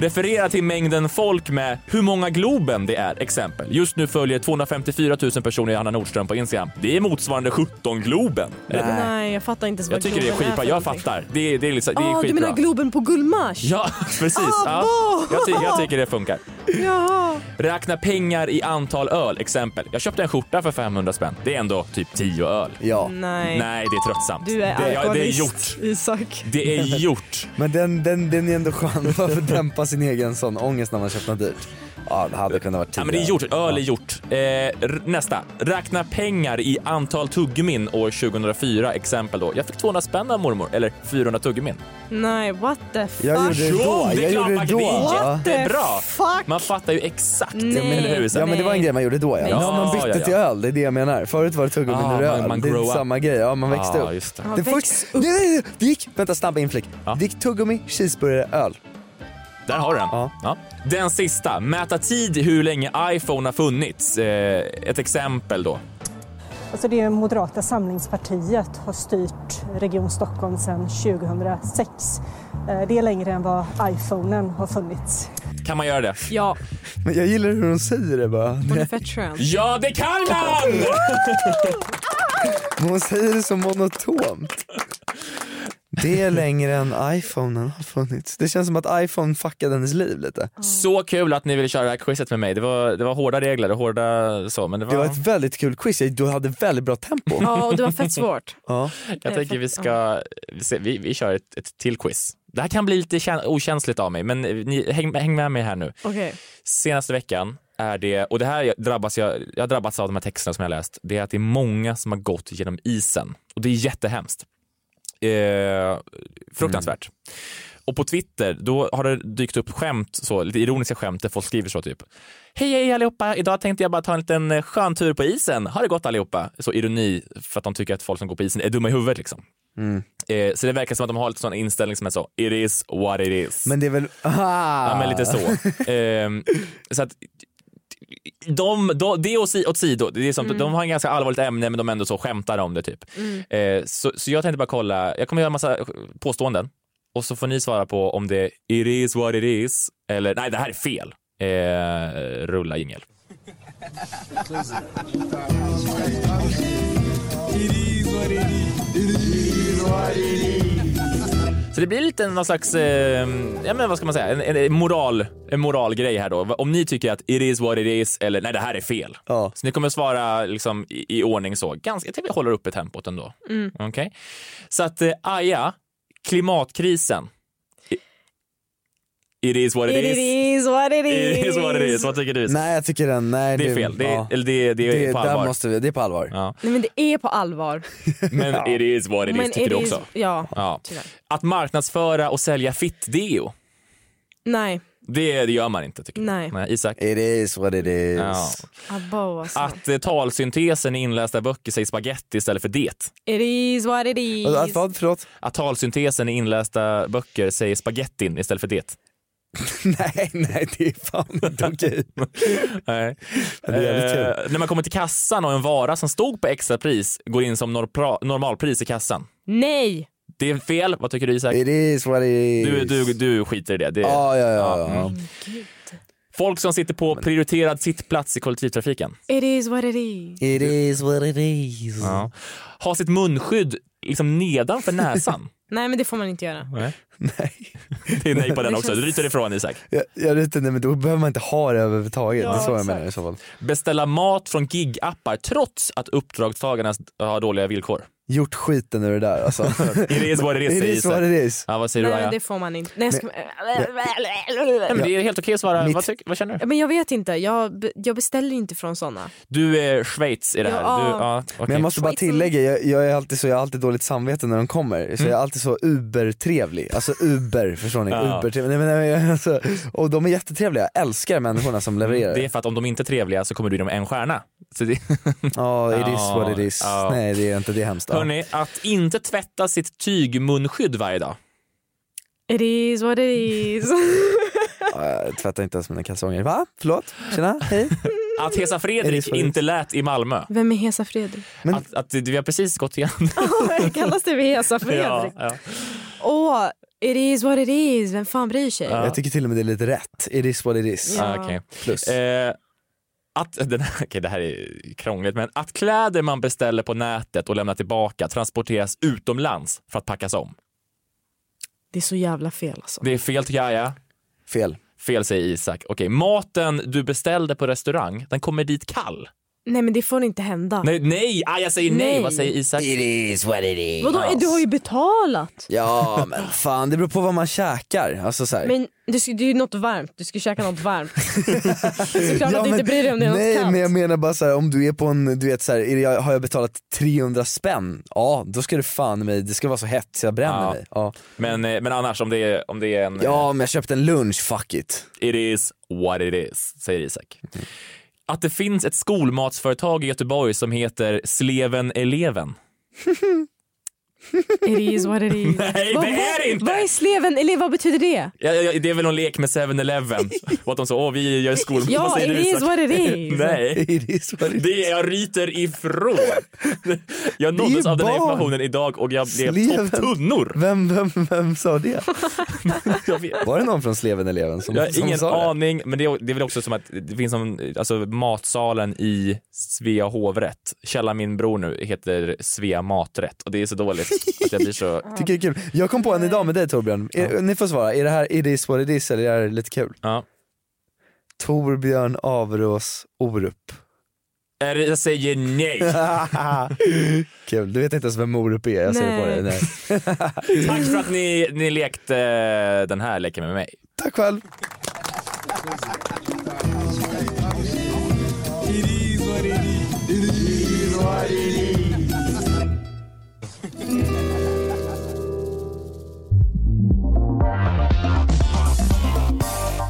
[SPEAKER 1] Referera till mängden folk med hur många Globen det är, exempel. Just nu följer 254 000 personer Johanna Nordström på Instagram. Det är motsvarande 17 Globen. Eller?
[SPEAKER 3] Nej, jag fattar inte ens
[SPEAKER 1] Jag
[SPEAKER 3] vad
[SPEAKER 1] tycker det är
[SPEAKER 3] Globen
[SPEAKER 1] skitbra.
[SPEAKER 3] för
[SPEAKER 1] Jag
[SPEAKER 3] någonting.
[SPEAKER 1] fattar. Det är, det är, liksom, det är
[SPEAKER 3] Ah, du
[SPEAKER 1] skitbra.
[SPEAKER 3] menar Globen på Gullmars?
[SPEAKER 1] Ja, [LAUGHS] precis.
[SPEAKER 3] Ah,
[SPEAKER 1] ja.
[SPEAKER 3] bo!
[SPEAKER 1] Jag, ty- jag tycker det funkar.
[SPEAKER 3] Jaha.
[SPEAKER 1] Räkna pengar i antal öl, exempel. Jag köpte en skjorta för 500 spänn. Det är ändå typ 10 öl.
[SPEAKER 4] Ja.
[SPEAKER 3] Nej.
[SPEAKER 1] Nej, det är tröttsamt.
[SPEAKER 3] Du är
[SPEAKER 1] det, ja, det är
[SPEAKER 3] alkoholist,
[SPEAKER 1] gjort.
[SPEAKER 3] Isak.
[SPEAKER 1] Det är gjort.
[SPEAKER 4] Men den, den, den är ändå skön, [LAUGHS] bara för att dämpa sin egen sån ångest när man köpt något dyrt. Ja, det hade kunnat vara
[SPEAKER 1] Ja, men det är gjort. Öl är gjort. Eh, r- nästa. Räkna pengar i antal tuggummin år 2004, exempel då. Jag fick 200 spänn av mormor, eller 400 tuggummin.
[SPEAKER 3] Nej, what the fuck?
[SPEAKER 4] Jag gjorde det då.
[SPEAKER 1] det är
[SPEAKER 4] Jag
[SPEAKER 1] klart
[SPEAKER 4] gjorde
[SPEAKER 1] man-
[SPEAKER 4] det då.
[SPEAKER 1] Det är
[SPEAKER 4] What the
[SPEAKER 1] jättebra.
[SPEAKER 3] fuck?
[SPEAKER 1] Man fattar ju exakt.
[SPEAKER 4] men,
[SPEAKER 1] Eller hur?
[SPEAKER 4] ja men det var en grej man gjorde då ja.
[SPEAKER 1] Nej.
[SPEAKER 4] Nu har man
[SPEAKER 1] Ja,
[SPEAKER 4] bytt det
[SPEAKER 1] ja,
[SPEAKER 4] till
[SPEAKER 1] ja.
[SPEAKER 4] öl, det är det jag menar. Förut var det tuggummi
[SPEAKER 1] Ah,
[SPEAKER 4] nu är det
[SPEAKER 1] man-
[SPEAKER 4] öl.
[SPEAKER 1] man
[SPEAKER 4] det är
[SPEAKER 1] grow
[SPEAKER 4] inte
[SPEAKER 1] up.
[SPEAKER 4] samma grej, ja man växte
[SPEAKER 1] Ah,
[SPEAKER 4] upp.
[SPEAKER 1] just det.
[SPEAKER 3] Ja,
[SPEAKER 4] det,
[SPEAKER 3] väx
[SPEAKER 4] först, Nej, nej, nej, det gick, vänta snabba inflik. Det gick tuggummi, cheeseburgare, öl.
[SPEAKER 1] Där har du den. Ja. Den sista. Mäta tid i hur länge iPhone har funnits. Eh, ett exempel då.
[SPEAKER 13] Alltså det Moderata samlingspartiet har styrt Region Stockholm sedan 2006. Eh, Det är längre än vad iPhonen har funnits.
[SPEAKER 1] Kan man göra det?
[SPEAKER 3] Ja.
[SPEAKER 4] Men jag gillar hur hon säger det bara.
[SPEAKER 1] [LAUGHS] Ja, det kan man!
[SPEAKER 4] Men hon säger det så monotont. Det är längre än iPhonen har funnits. Det känns som att iPhone fuckade hennes liv lite.
[SPEAKER 1] Så kul att ni ville köra det här quizet med mig. Det var, det var hårda regler och hårda så, men det var...
[SPEAKER 4] Det var ett väldigt kul quiz, du hade väldigt bra tempo.
[SPEAKER 3] Ja, och det var fett svårt.
[SPEAKER 4] Ja.
[SPEAKER 1] Jag tänker vi ska... vi ser- Vi, vi kör ett, ett till quiz. Det här kan bli lite kän- okänsligt av mig, men eh, ni, häng, häng med mig här nu.
[SPEAKER 3] Okej.
[SPEAKER 1] Senaste veckan är det, och det här drabbas jag, jag har drabbats av de här texterna som jag har läst, det är att det är många som har gått genom isen. Och det är jättehemskt. Eh, fruktansvärt. Och på Twitter då har det dykt upp skämt, så, lite ironiska skämt där folk skriver så typ. Hej hej allihopa, idag tänkte jag bara ta en liten eh, skön tur på isen. Har det gott allihopa? Så ironi för att de tycker att folk som går på isen är dumma i huvudet liksom. Eh, så det verkar som att de har lite sån inställning som är så, it is what it is.
[SPEAKER 4] Men det är väl... [LAUGHS] Ah.
[SPEAKER 1] Ja, men lite så. Ehm, så att, de, de, det är åsi- åt sidor. Det är som,
[SPEAKER 14] Mm.
[SPEAKER 1] De har en ganska allvarligt ämne men de ändå så skämtar om det. typ.
[SPEAKER 14] Mm.
[SPEAKER 1] Eh, så, så jag tänkte bara kolla, jag kommer göra en massa påståenden och så får ni svara på om det är it is what it is eller nej det här är fel. Eh, rulla jingel. Så det blir lite någon slags, eh, ja men vad ska man säga, en, en moral, en moralgrej här då. Om ni tycker att it is what it is eller nej det här är fel. Så ni kommer svara liksom i, i ordning så, ganska, jag tycker vi håller uppe tempot ändå.
[SPEAKER 3] Mm.
[SPEAKER 1] Okej? Så att eh, Aja, klimatkrisen. I- It is what it,
[SPEAKER 3] It
[SPEAKER 1] is.
[SPEAKER 3] is what it is.
[SPEAKER 1] It is what it is. Vad tycker du? Isak?
[SPEAKER 4] Nej jag tycker den, nej
[SPEAKER 1] Det är fel. Det är- eller det- det är på
[SPEAKER 4] där
[SPEAKER 1] allvar.
[SPEAKER 4] Måste vi, det är på allvar.
[SPEAKER 1] Ja.
[SPEAKER 3] Nej men det är på allvar.
[SPEAKER 1] Men it is what it
[SPEAKER 3] Men
[SPEAKER 1] is tycker
[SPEAKER 3] it
[SPEAKER 1] du
[SPEAKER 3] is-
[SPEAKER 1] också?
[SPEAKER 3] ja, tyvärr.
[SPEAKER 1] tyvärr. Att marknadsföra och sälja fitt-deo,
[SPEAKER 3] Nej,
[SPEAKER 1] det, det gör man inte tycker jag.
[SPEAKER 3] nej.
[SPEAKER 1] Nej, Isak?
[SPEAKER 4] It is what it is.
[SPEAKER 1] Ja.
[SPEAKER 3] Abba, alltså.
[SPEAKER 1] Att eh, talsyntesen i inlästa böcker säger spaghetti istället för det.
[SPEAKER 3] It is what it is.
[SPEAKER 4] vad, Alltså, förlåt? [LAUGHS]
[SPEAKER 1] Att talsyntesen i inlästa böcker säger spagettin istället för
[SPEAKER 4] [LAUGHS]
[SPEAKER 1] det.
[SPEAKER 4] nej, nej det är fan inte okej.
[SPEAKER 1] Nej.
[SPEAKER 4] Ja, det är jävligt kul.
[SPEAKER 1] Eh, när man kommer till kassan och en vara som stod på extrapris går in som norpra- normalpris i kassan.
[SPEAKER 3] Nej!
[SPEAKER 1] Det är fel. Vad tycker du Isak?
[SPEAKER 4] It is what it is.
[SPEAKER 1] Du, du, du skiter i det. det
[SPEAKER 4] Ja, ja, ja, ja.
[SPEAKER 1] mm. Folk som sitter på prioriterad sittplats i kollektivtrafiken.
[SPEAKER 4] Mm.
[SPEAKER 3] It is what it is.
[SPEAKER 4] It is what it is.
[SPEAKER 1] Ja. Ha sitt munskydd liksom nedanför
[SPEAKER 4] [LAUGHS]
[SPEAKER 1] näsan.
[SPEAKER 3] Nej men det får man inte göra.
[SPEAKER 1] nej. Det är nej på den också. Du ryter ifrån Isak.
[SPEAKER 4] Jag, jag vet inte, men då behöver man inte ha det överhuvudtaget.
[SPEAKER 1] Ja,
[SPEAKER 4] det är så jag
[SPEAKER 1] exakt.
[SPEAKER 4] menar i så fall.
[SPEAKER 1] Beställa mat från gigappar trots att uppdragstagarna har dåliga villkor.
[SPEAKER 4] Gjort skiten ur det där alltså.
[SPEAKER 1] [LAUGHS] It is what it is.
[SPEAKER 4] It
[SPEAKER 1] säger
[SPEAKER 4] is
[SPEAKER 1] Isak.
[SPEAKER 4] what it is.
[SPEAKER 1] Ja, vad säger
[SPEAKER 3] Nej
[SPEAKER 1] du Aja?
[SPEAKER 3] men det får man inte. Nej, jag ska...
[SPEAKER 1] Nej, men det är helt okej att svara.
[SPEAKER 3] Mitt-
[SPEAKER 1] Vad, tycker, vad känner du?
[SPEAKER 3] [LAUGHS] Men jag vet inte, jag, be- jag beställer inte från såna.
[SPEAKER 1] Du är Schweiz i det här.
[SPEAKER 3] Ja.
[SPEAKER 1] Du, ja,
[SPEAKER 4] Men
[SPEAKER 1] okej.
[SPEAKER 4] jag måste bara tillägga, jag, jag, är alltid så, jag har alltid dåligt samvete när de kommer, så jag är alltid så ubertrevlig. Alltså uber, förstår ni?
[SPEAKER 1] Mm. Ja.
[SPEAKER 4] Ubertrevlig. Nej, men, nej, men, alltså, och de är jättetrevliga, jag älskar människorna som levererar.
[SPEAKER 1] Det är för att om de inte är trevliga så kommer du ge dem en stjärna. Så det...
[SPEAKER 4] Ja, it is
[SPEAKER 1] Ja,
[SPEAKER 4] what it is.
[SPEAKER 1] ja.
[SPEAKER 4] Nej det är inte, det är hemskt. Ja.
[SPEAKER 1] Hörni, att inte tvätta sitt tygmunskydd varje dag.
[SPEAKER 3] It is what it is.
[SPEAKER 4] Ja, jag tvättar inte ens mina kalsonger. Va? Förlåt? Tjena, hej.
[SPEAKER 1] Att Hesa Fredrik
[SPEAKER 4] what it
[SPEAKER 1] inte lät i Malmö.
[SPEAKER 3] [LAUGHS] Vem är Hesa [LAUGHS] Fredrik? [LAUGHS]
[SPEAKER 1] Att, att vi har precis gått igenom
[SPEAKER 3] Kallas du för Hesa Fredrik?
[SPEAKER 1] Ja, ja.
[SPEAKER 3] Åh, It is what it is, vem fan bryr sig?
[SPEAKER 4] Jag tycker till och med det är lite rätt. It is what it is.
[SPEAKER 3] Ja.
[SPEAKER 1] Ah, okej.
[SPEAKER 4] Plus.
[SPEAKER 1] Eh, att, den här, okej, det här är krångligt, men att kläder man beställer på nätet och lämnar tillbaka transporteras utomlands för att packas om.
[SPEAKER 3] Det är så jävla fel alltså.
[SPEAKER 1] Det är fel tycker jag. Ja.
[SPEAKER 4] Fel.
[SPEAKER 1] Fel säger Isak. Okej, maten du beställde på restaurang, den kommer dit kall.
[SPEAKER 3] Nej men det får inte hända.
[SPEAKER 1] Nej, nej, ah, jag säger nej.
[SPEAKER 3] Nej.
[SPEAKER 1] Vad säger Isak?
[SPEAKER 4] It is what it is.
[SPEAKER 3] Vadå, du har ju betalat.
[SPEAKER 4] Ja men fan det beror på vad man käkar. Alltså, så här.
[SPEAKER 3] Men du ska, det är ju något varmt, du ska käka
[SPEAKER 1] [LAUGHS]
[SPEAKER 3] något varmt. Såklart att du inte bryr dig om det är något
[SPEAKER 4] nej,
[SPEAKER 3] kallt.
[SPEAKER 4] men jag menar bara så här, om du är på en, du vet så här, är det, jag- har jag betalat 300 spänn? Ja, då ska det fan i mig, det ska vara så hett så jag bränner
[SPEAKER 1] Ja.
[SPEAKER 4] mig. Ja.
[SPEAKER 1] Men, eh, men annars om det är, om det är en... eh,
[SPEAKER 4] ja, men jag köpte en lunch, fuck it.
[SPEAKER 1] It is what it is, säger Isak. Att det finns ett skolmatsföretag i Göteborg som heter Sleven Eleven.
[SPEAKER 3] It is what it is.
[SPEAKER 1] [LAUGHS] Nej,
[SPEAKER 3] Vad-
[SPEAKER 1] det är
[SPEAKER 3] vad-
[SPEAKER 1] det inte!
[SPEAKER 3] Vad är sleven, eller vad betyder det?
[SPEAKER 1] Ja, ja, ja, det är väl någon lek med
[SPEAKER 3] [LAUGHS]
[SPEAKER 1] 7-Eleven och att de sa åh vi gör skolmat.
[SPEAKER 3] Ja,
[SPEAKER 1] Vad säger
[SPEAKER 3] it
[SPEAKER 1] du,
[SPEAKER 3] is
[SPEAKER 1] Isak? [LAUGHS]
[SPEAKER 3] what it is.
[SPEAKER 1] Nej,
[SPEAKER 4] [LAUGHS] it is what it
[SPEAKER 1] det är, jag ryter
[SPEAKER 3] [LAUGHS]
[SPEAKER 1] ifrån. Jag
[SPEAKER 4] Det är ju
[SPEAKER 1] nåddes av den här
[SPEAKER 4] barn.
[SPEAKER 1] informationen idag och jag blev
[SPEAKER 4] Sleven.
[SPEAKER 1] topptunnor.
[SPEAKER 4] Vem, vem, vem sa det?
[SPEAKER 1] Jag vet.
[SPEAKER 4] Var det någon från Sleven-eleven som,
[SPEAKER 1] Jag har
[SPEAKER 4] som
[SPEAKER 1] ingen
[SPEAKER 4] sa det?
[SPEAKER 1] aning, men det är, det är väl också som att det finns en, alltså matsalen i Svea hovrätt. Källa min bror nu heter Svea maträtt och det är så dåligt att jag blir så...
[SPEAKER 4] Tycker det är kul. Jag kom på en idag med dig Torbjörn, är, ni får svara, är det här it is what it is eller är det lite kul?
[SPEAKER 1] Ja.
[SPEAKER 4] Torbjörn Averås Orup.
[SPEAKER 1] Är det- Jag säger nej. Ah.
[SPEAKER 4] [LAUGHS] kul, du vet inte ens vem Orup är, jag ser det på dig. Nej.
[SPEAKER 1] Tack för att ni, ni lekte den här leken med mig.
[SPEAKER 4] Tack själv.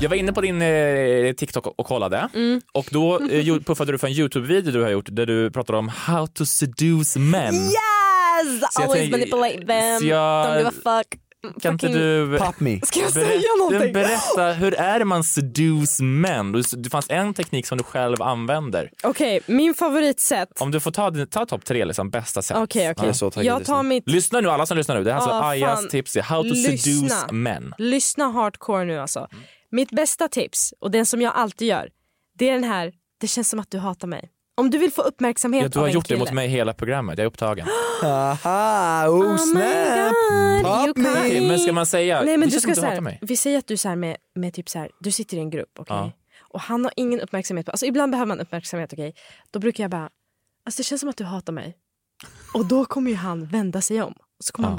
[SPEAKER 1] Jag var inne på din eh, TikTok och kollade och då eh, gjorde- puffade du för en Youtube-video du har gjort där du pratar om how to seduce
[SPEAKER 3] [LAUGHS]
[SPEAKER 1] men.
[SPEAKER 2] Yes!
[SPEAKER 1] Så jag
[SPEAKER 2] Always
[SPEAKER 1] tänker-
[SPEAKER 2] manipulate them.
[SPEAKER 1] så jag-
[SPEAKER 2] Don't give a fuck.
[SPEAKER 1] Kan inte
[SPEAKER 2] Fucking-
[SPEAKER 1] du
[SPEAKER 4] me.
[SPEAKER 2] Ska jag
[SPEAKER 1] Berätta-
[SPEAKER 2] säga någonting?
[SPEAKER 1] Berätta, hur är det man seduce men? Du- Det fanns en teknik som du själv använder.
[SPEAKER 3] Okej, min favoritsätt.
[SPEAKER 1] Om du får ta, din- ta topp tre, liksom, bästa sätt.
[SPEAKER 3] Okej, okej. Jag tar mitt...
[SPEAKER 1] Lyssna nu alla som lyssnar nu. Det är alltså
[SPEAKER 3] Ja, fan.
[SPEAKER 1] Ayas tips är how to
[SPEAKER 3] Lyssna.
[SPEAKER 1] seduce men. Mm.
[SPEAKER 3] Lyssna hardcore nu alltså. Mitt bästa tips, och den som jag alltid gör, det är den här, det känns som att du hatar mig. Om du vill få uppmärksamhet
[SPEAKER 1] Ja, du
[SPEAKER 3] av
[SPEAKER 1] har
[SPEAKER 3] en
[SPEAKER 1] gjort det
[SPEAKER 3] kille.
[SPEAKER 1] mot mig hela programmet. Jag är
[SPEAKER 3] [GASPS]
[SPEAKER 1] upptagen. Ah,
[SPEAKER 4] Aha, oh snap!
[SPEAKER 3] you
[SPEAKER 4] Pop me!
[SPEAKER 3] can't.
[SPEAKER 1] Okej, men ska man säga...
[SPEAKER 3] Nej,
[SPEAKER 1] det
[SPEAKER 3] men du
[SPEAKER 1] känns
[SPEAKER 3] ska
[SPEAKER 1] som
[SPEAKER 3] så
[SPEAKER 1] hatar
[SPEAKER 3] här,
[SPEAKER 1] mig.
[SPEAKER 3] vi säger att du så här med, med typ så här, du sitter i en grupp okej?
[SPEAKER 1] Ja.
[SPEAKER 3] och han har ingen uppmärksamhet. På, alltså ibland behöver man uppmärksamhet. okej? Då brukar jag bara, alltså, det känns som att du hatar mig. Och då kommer ju han vända sig om. Och så kommer
[SPEAKER 1] Ja.
[SPEAKER 3] han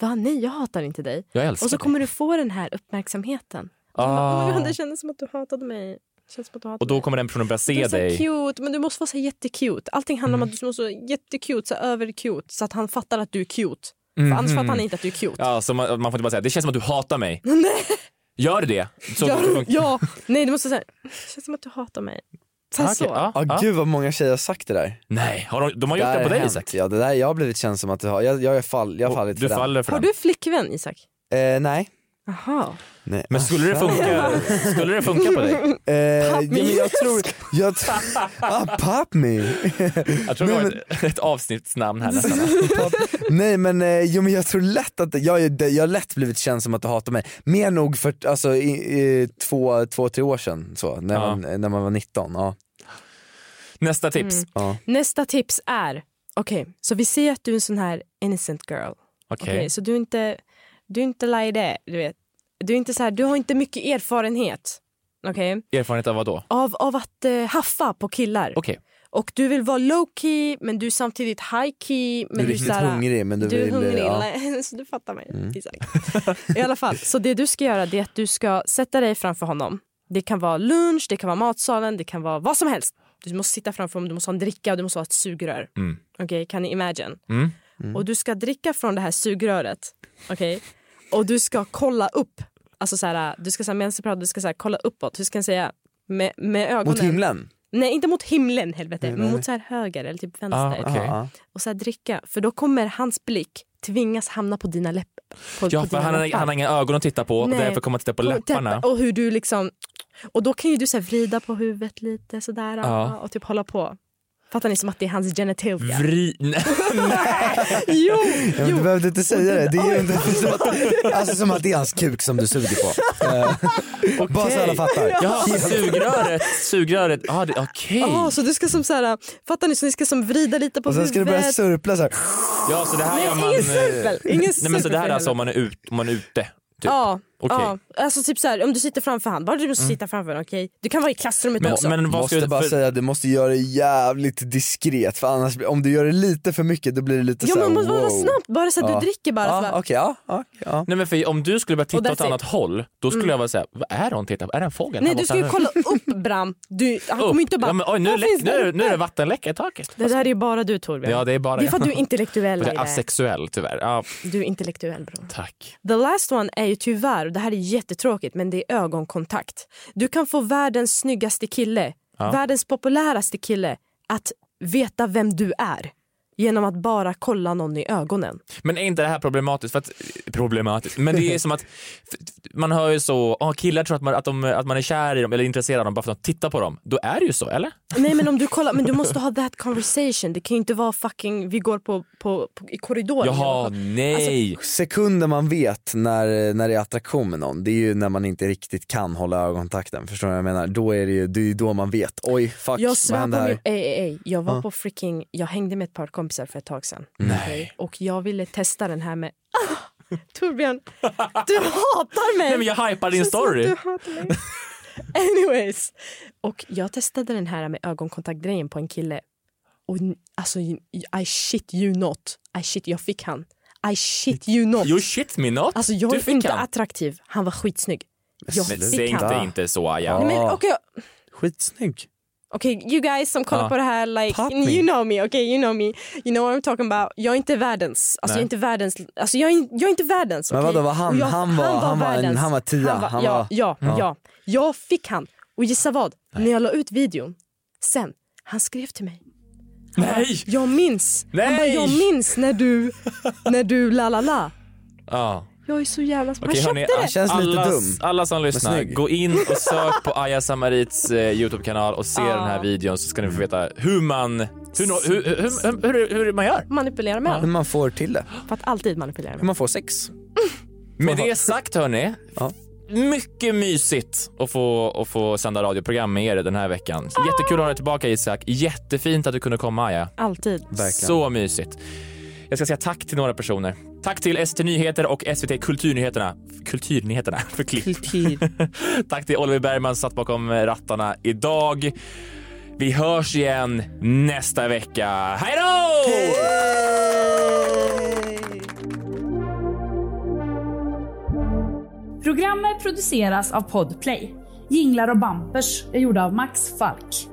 [SPEAKER 3] bara, va nej jag hatar inte dig.
[SPEAKER 1] Jag älskar
[SPEAKER 3] och så
[SPEAKER 1] dig.
[SPEAKER 3] kommer du få den här uppmärksamheten. [LAUGHS]
[SPEAKER 1] Ah.
[SPEAKER 3] Oh, det kändes som att du hatade mig. Det Känns som att du hatade
[SPEAKER 1] Och då kommer den personen börja
[SPEAKER 3] mig.
[SPEAKER 1] se
[SPEAKER 3] Du är så
[SPEAKER 1] dig. Mm.
[SPEAKER 3] cute, men du måste vara så här jättecute. Allting handlar om att du måste vara jättecute, så här övercute, så att han fattar att du är cute. För annars
[SPEAKER 1] Mhm.
[SPEAKER 3] fattar han inte att du är cute.
[SPEAKER 1] Ja, så man, man får inte bara säga det känns som att du hatar
[SPEAKER 3] [LAUGHS]
[SPEAKER 1] mig. Gör du det? Så,
[SPEAKER 3] Ja, ja, nej du måste säga det känns som att du hatar mig. Så här,
[SPEAKER 1] Ah, okej,
[SPEAKER 3] så.
[SPEAKER 1] ja.
[SPEAKER 4] Ja, gud vad många tjejer har sagt det där.
[SPEAKER 1] Nej, har de, de har
[SPEAKER 4] Det
[SPEAKER 1] gjort
[SPEAKER 4] här
[SPEAKER 1] det på
[SPEAKER 4] har
[SPEAKER 1] dig
[SPEAKER 4] hänt.
[SPEAKER 1] Isak?
[SPEAKER 4] Ja, det där, jag har blivit känd som att det har, jag, jag, är fall, jag har fallit
[SPEAKER 1] Du
[SPEAKER 4] för
[SPEAKER 1] faller för
[SPEAKER 3] Har
[SPEAKER 1] den.
[SPEAKER 3] du flickvän Isak?
[SPEAKER 4] den. Eh, nej.
[SPEAKER 3] Jaha.
[SPEAKER 4] nej.
[SPEAKER 1] Men skulle det funka, skulle det funka på dig?
[SPEAKER 4] [LAUGHS] Eh, ja,
[SPEAKER 1] Papp me.
[SPEAKER 4] men jag tror,
[SPEAKER 1] [LAUGHS]
[SPEAKER 4] jag, tr- ah, pop me.
[SPEAKER 1] Jag tror det var ett, ett avsnittsnamn här nästan.
[SPEAKER 4] [LAUGHS] Nej men, eh, jo, men jag tror lätt att, jag, jag, jag har lätt blivit känd som att du hatar mig. Mer nog för alltså, i, i, två, två, tre år sedan så, när,
[SPEAKER 1] Ja.
[SPEAKER 4] man, eh, när man var 19. Ja.
[SPEAKER 1] Nästa tips.
[SPEAKER 3] Mm.
[SPEAKER 4] Ja.
[SPEAKER 3] Nästa tips är, okej, så vi ser att du är en sån här innocent girl.
[SPEAKER 1] Okej.
[SPEAKER 3] Okej, så du är inte, du är inte lajde, du vet. Du är inte så här, du har inte mycket erfarenhet. Okej?
[SPEAKER 1] Erfarenhet av vad då?
[SPEAKER 3] Av, av att eh, haffa på killar.
[SPEAKER 1] Okej.
[SPEAKER 3] Och du vill vara low key men du är samtidigt high key. Men
[SPEAKER 4] Du är
[SPEAKER 3] du,
[SPEAKER 4] riktigt
[SPEAKER 3] så här,
[SPEAKER 4] hungrig, men Mm. du
[SPEAKER 3] är
[SPEAKER 4] vill, eh,
[SPEAKER 3] hungrig,
[SPEAKER 4] ja.
[SPEAKER 3] [LAUGHS]
[SPEAKER 4] Mm.
[SPEAKER 3] så du fattar mig. Isak. [LAUGHS] I alla fall, så det du ska göra det är att du ska sätta dig framför honom. Det kan vara lunch, det kan vara matsalen, det kan vara vad som helst. Du måste sitta framför honom, du måste ha en dricka och du måste ha ett sugrör.
[SPEAKER 1] Mm.
[SPEAKER 3] Okej, kan ni imagine?
[SPEAKER 1] Mm.
[SPEAKER 3] Och du ska dricka från det här sugröret. Okej? Och du ska kolla upp. Alltså så här, du ska så här, medan du pratar, du ska så här, kolla uppåt. Hur ska jag säga? Med, med ögonen.
[SPEAKER 4] Mot himlen?
[SPEAKER 3] Nej, inte mot himlen helvete.
[SPEAKER 4] Nej,
[SPEAKER 3] men
[SPEAKER 4] nej.
[SPEAKER 3] Mot så här höger eller typ
[SPEAKER 4] Ah,
[SPEAKER 3] vänster.
[SPEAKER 4] okej. Ja, ja.
[SPEAKER 3] Och så här dricka. För då kommer hans blick tvingas hamna på dina läppar. På,
[SPEAKER 1] Ja,
[SPEAKER 3] på
[SPEAKER 1] för
[SPEAKER 3] dina
[SPEAKER 1] han, har-
[SPEAKER 3] läppar.
[SPEAKER 1] han har inga ögon att titta på och
[SPEAKER 3] Nej.
[SPEAKER 1] därför kommer han titta på läpparna.
[SPEAKER 3] Och hur du liksom... Och då kan ju du så här vrida på huvudet lite sådär.
[SPEAKER 1] Ja.
[SPEAKER 3] Och typ hålla på. Fattar ni som att det är hans [LAUGHS] genitalia?
[SPEAKER 1] Vri... [LAUGHS] Nej. [LAUGHS]
[SPEAKER 3] jo!
[SPEAKER 4] Ja, men du behövde inte säga det. Det är ju inte som [LAUGHS] att, alltså som att det är hans kuk som du suger på. Eh, Bara så alla fattar. [LAUGHS]
[SPEAKER 1] Ja, sugröret. Sugröret. Ah, det- Okej.
[SPEAKER 3] Ja, så du ska som så här, fattar ni? Så ni ska som vrida lite på
[SPEAKER 4] Och sen ska du börja
[SPEAKER 3] huvudet.
[SPEAKER 4] surpla så här.
[SPEAKER 1] Ja, så det här
[SPEAKER 3] Nej,
[SPEAKER 1] gör man...
[SPEAKER 3] ingen
[SPEAKER 1] eh,
[SPEAKER 3] surpel. Ingen
[SPEAKER 1] Nej, men så
[SPEAKER 3] surpel
[SPEAKER 1] det här är
[SPEAKER 3] heller.
[SPEAKER 1] alltså om man är, ut, om man är ute? Typ.
[SPEAKER 3] Ja,
[SPEAKER 1] Okej.
[SPEAKER 3] ja, alltså typ så här, om du sitter framför han, bara du måste
[SPEAKER 4] Mm.
[SPEAKER 3] sitta framför honom, okej? Du kan vara i klassrummet också.
[SPEAKER 4] men
[SPEAKER 1] vad
[SPEAKER 4] måste
[SPEAKER 1] ska du-
[SPEAKER 4] bara
[SPEAKER 1] för-
[SPEAKER 4] säga att du måste göra det jävligt diskret för annars, om du gör det lite för mycket då blir det lite
[SPEAKER 3] Ja,
[SPEAKER 4] såhär
[SPEAKER 3] man måste vara
[SPEAKER 4] wow.
[SPEAKER 3] snabbt, bara så att du dricker bara så
[SPEAKER 4] Ja,
[SPEAKER 3] bara-
[SPEAKER 4] okej, ja, ja, ja.
[SPEAKER 1] Nej, men för om du skulle börja
[SPEAKER 3] Och
[SPEAKER 1] titta åt
[SPEAKER 3] that's
[SPEAKER 1] annat
[SPEAKER 3] it.
[SPEAKER 1] håll, då skulle
[SPEAKER 3] Mm.
[SPEAKER 1] jag vara såhär, vad är det hon tittar på? Är det en fågel?
[SPEAKER 3] Nej
[SPEAKER 1] här
[SPEAKER 3] du
[SPEAKER 1] borta
[SPEAKER 3] ska ju
[SPEAKER 1] nu?
[SPEAKER 3] kolla upp Bram. Du, han
[SPEAKER 1] Upp.
[SPEAKER 3] kommer ju inte bara...
[SPEAKER 1] Ja, men, oj, nu,
[SPEAKER 3] "Här
[SPEAKER 1] är läck,
[SPEAKER 3] finns
[SPEAKER 1] nu,
[SPEAKER 3] den
[SPEAKER 1] är- nu är det
[SPEAKER 3] uppe."
[SPEAKER 1] vattenläcka i taket.
[SPEAKER 3] Det där är ju bara du Torbjörn.
[SPEAKER 1] Ja, det är bara
[SPEAKER 3] Det är för att
[SPEAKER 1] jag.
[SPEAKER 3] du är intellektuell.
[SPEAKER 1] Och [LAUGHS] det är
[SPEAKER 3] Aida.
[SPEAKER 1] asexuell tyvärr. Ja,
[SPEAKER 3] Du är intellektuell bror.
[SPEAKER 1] tack.
[SPEAKER 3] The last one är ju tyvärr, och det här är jättetråkigt, men det är ögonkontakt. Du kan få världens snyggaste kille,
[SPEAKER 1] Ja.
[SPEAKER 3] världens populäraste kille att veta vem du är genom att bara kolla någon i ögonen.
[SPEAKER 1] Men är inte det här problematiskt? För att, problematiskt. Men det är som att f- man hör ju så, oh, killar tror att man, att, de, att man är kär i dem eller intresserad av dem bara för att de tittar på dem. Då är det ju så, eller?
[SPEAKER 3] Nej men om du kollar, men du måste ha that conversation. Det kan ju inte vara fucking, vi går på, på, på i korridoren.
[SPEAKER 1] Jaha, nej.
[SPEAKER 3] Alltså,
[SPEAKER 4] Sekunden man vet när, när det är attraktion med någon, det är ju när man inte riktigt kan hålla ögonkontakten. Förstår du vad jag menar? Då är det ju, det är ju då man vet, oj fuck
[SPEAKER 3] Jag
[SPEAKER 4] vad
[SPEAKER 3] svär på
[SPEAKER 4] hände här?
[SPEAKER 3] min... Ej, ej, ej. Jag var
[SPEAKER 4] Ja.
[SPEAKER 3] på freaking... Jag hängde med ett par kompisar för ett tag sedan.
[SPEAKER 4] Nej.
[SPEAKER 3] Okej? Och jag ville testa den här med... [LAUGHS] Ah, Torbjörn, du hatar mig!
[SPEAKER 1] Nej, men jag hypar din
[SPEAKER 3] Så sa att
[SPEAKER 1] story.
[SPEAKER 3] Du hatar mig.
[SPEAKER 1] [LAUGHS]
[SPEAKER 3] Anyways. Och jag testade den här med ögonkontaktgrejen på en kille. Och n- alltså, I shit you not. I shit, jag fick han. I shit you not.
[SPEAKER 1] You shit me not.
[SPEAKER 3] Alltså jag
[SPEAKER 1] Du
[SPEAKER 3] är
[SPEAKER 1] fick
[SPEAKER 3] inte
[SPEAKER 1] han.
[SPEAKER 3] attraktiv. Han var skitsnygg. Jag
[SPEAKER 1] Men
[SPEAKER 3] fick
[SPEAKER 1] säg
[SPEAKER 3] han.
[SPEAKER 1] inte, inte så Aja.
[SPEAKER 3] Nej, men, okej,
[SPEAKER 4] Skitsnygg.
[SPEAKER 3] Okej, you guys som kollar
[SPEAKER 1] Ja.
[SPEAKER 3] på det här, like,
[SPEAKER 1] Pop me.
[SPEAKER 3] you know me, okay, you know me. You know what I'm talking about. Jag är inte världens. Alltså, jag
[SPEAKER 4] Nej.
[SPEAKER 3] är inte världens. Alltså, jag, är, in- jag är inte världens.
[SPEAKER 4] Men
[SPEAKER 3] okej?
[SPEAKER 4] vadå, var han-
[SPEAKER 3] Och jag,
[SPEAKER 4] han var- han var en-
[SPEAKER 3] världens.
[SPEAKER 4] han var tia, han
[SPEAKER 3] ja,
[SPEAKER 4] var-
[SPEAKER 3] ja,
[SPEAKER 4] Ja.
[SPEAKER 3] ja, Jag fick han. Och gissa vad? När jag la ut videon sen, han skrev till mig. Han bara,
[SPEAKER 1] Nej!
[SPEAKER 3] Jag minns. Han bara,
[SPEAKER 1] Nej!
[SPEAKER 3] jag minns när du, när du la la la.
[SPEAKER 1] Ja.
[SPEAKER 3] Jag är så jävla smart.
[SPEAKER 1] Okej,
[SPEAKER 3] han
[SPEAKER 1] hörni,
[SPEAKER 3] köpte det.
[SPEAKER 1] alla- alla, Alla som lyssnar,
[SPEAKER 4] snygg.
[SPEAKER 1] gå in och sök på Aya Samarits eh, Youtube-kanal och se den här videon så ska ni få veta hur man, hur, nå- hur, hur, hur, hur, hur man gör.
[SPEAKER 3] Manipulera med
[SPEAKER 4] Hur man får till det.
[SPEAKER 3] För att alltid manipulera med
[SPEAKER 4] Hur man får sex.
[SPEAKER 1] Med det sagt hörni, mycket mysigt att få, att få sända radioprogram med er den här veckan. Jättekul att ha dig tillbaka Isak, jättefint att du kunde komma Aya.
[SPEAKER 3] Alltid.
[SPEAKER 1] Så mysigt. Jag ska säga tack till några personer. Tack till SVT Nyheter och SVT Kulturnyheterna. Kulturnyheterna [LAUGHS] för klipp. tack till Oliver Bergman som satt bakom rattarna idag. Vi hörs igen nästa vecka. Hej då!
[SPEAKER 14] Programmet produceras av Podplay. Jinglar och bampers är gjorda av Max Falk.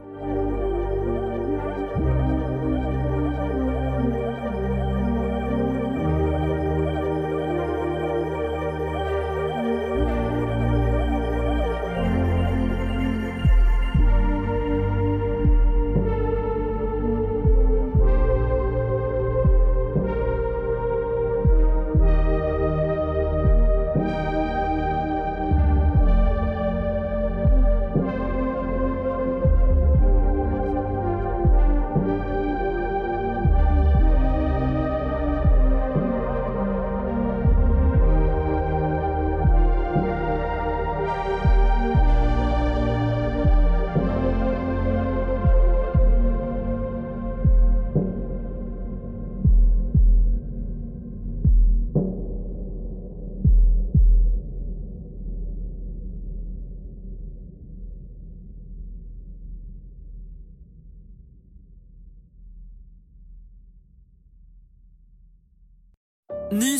[SPEAKER 5] Ny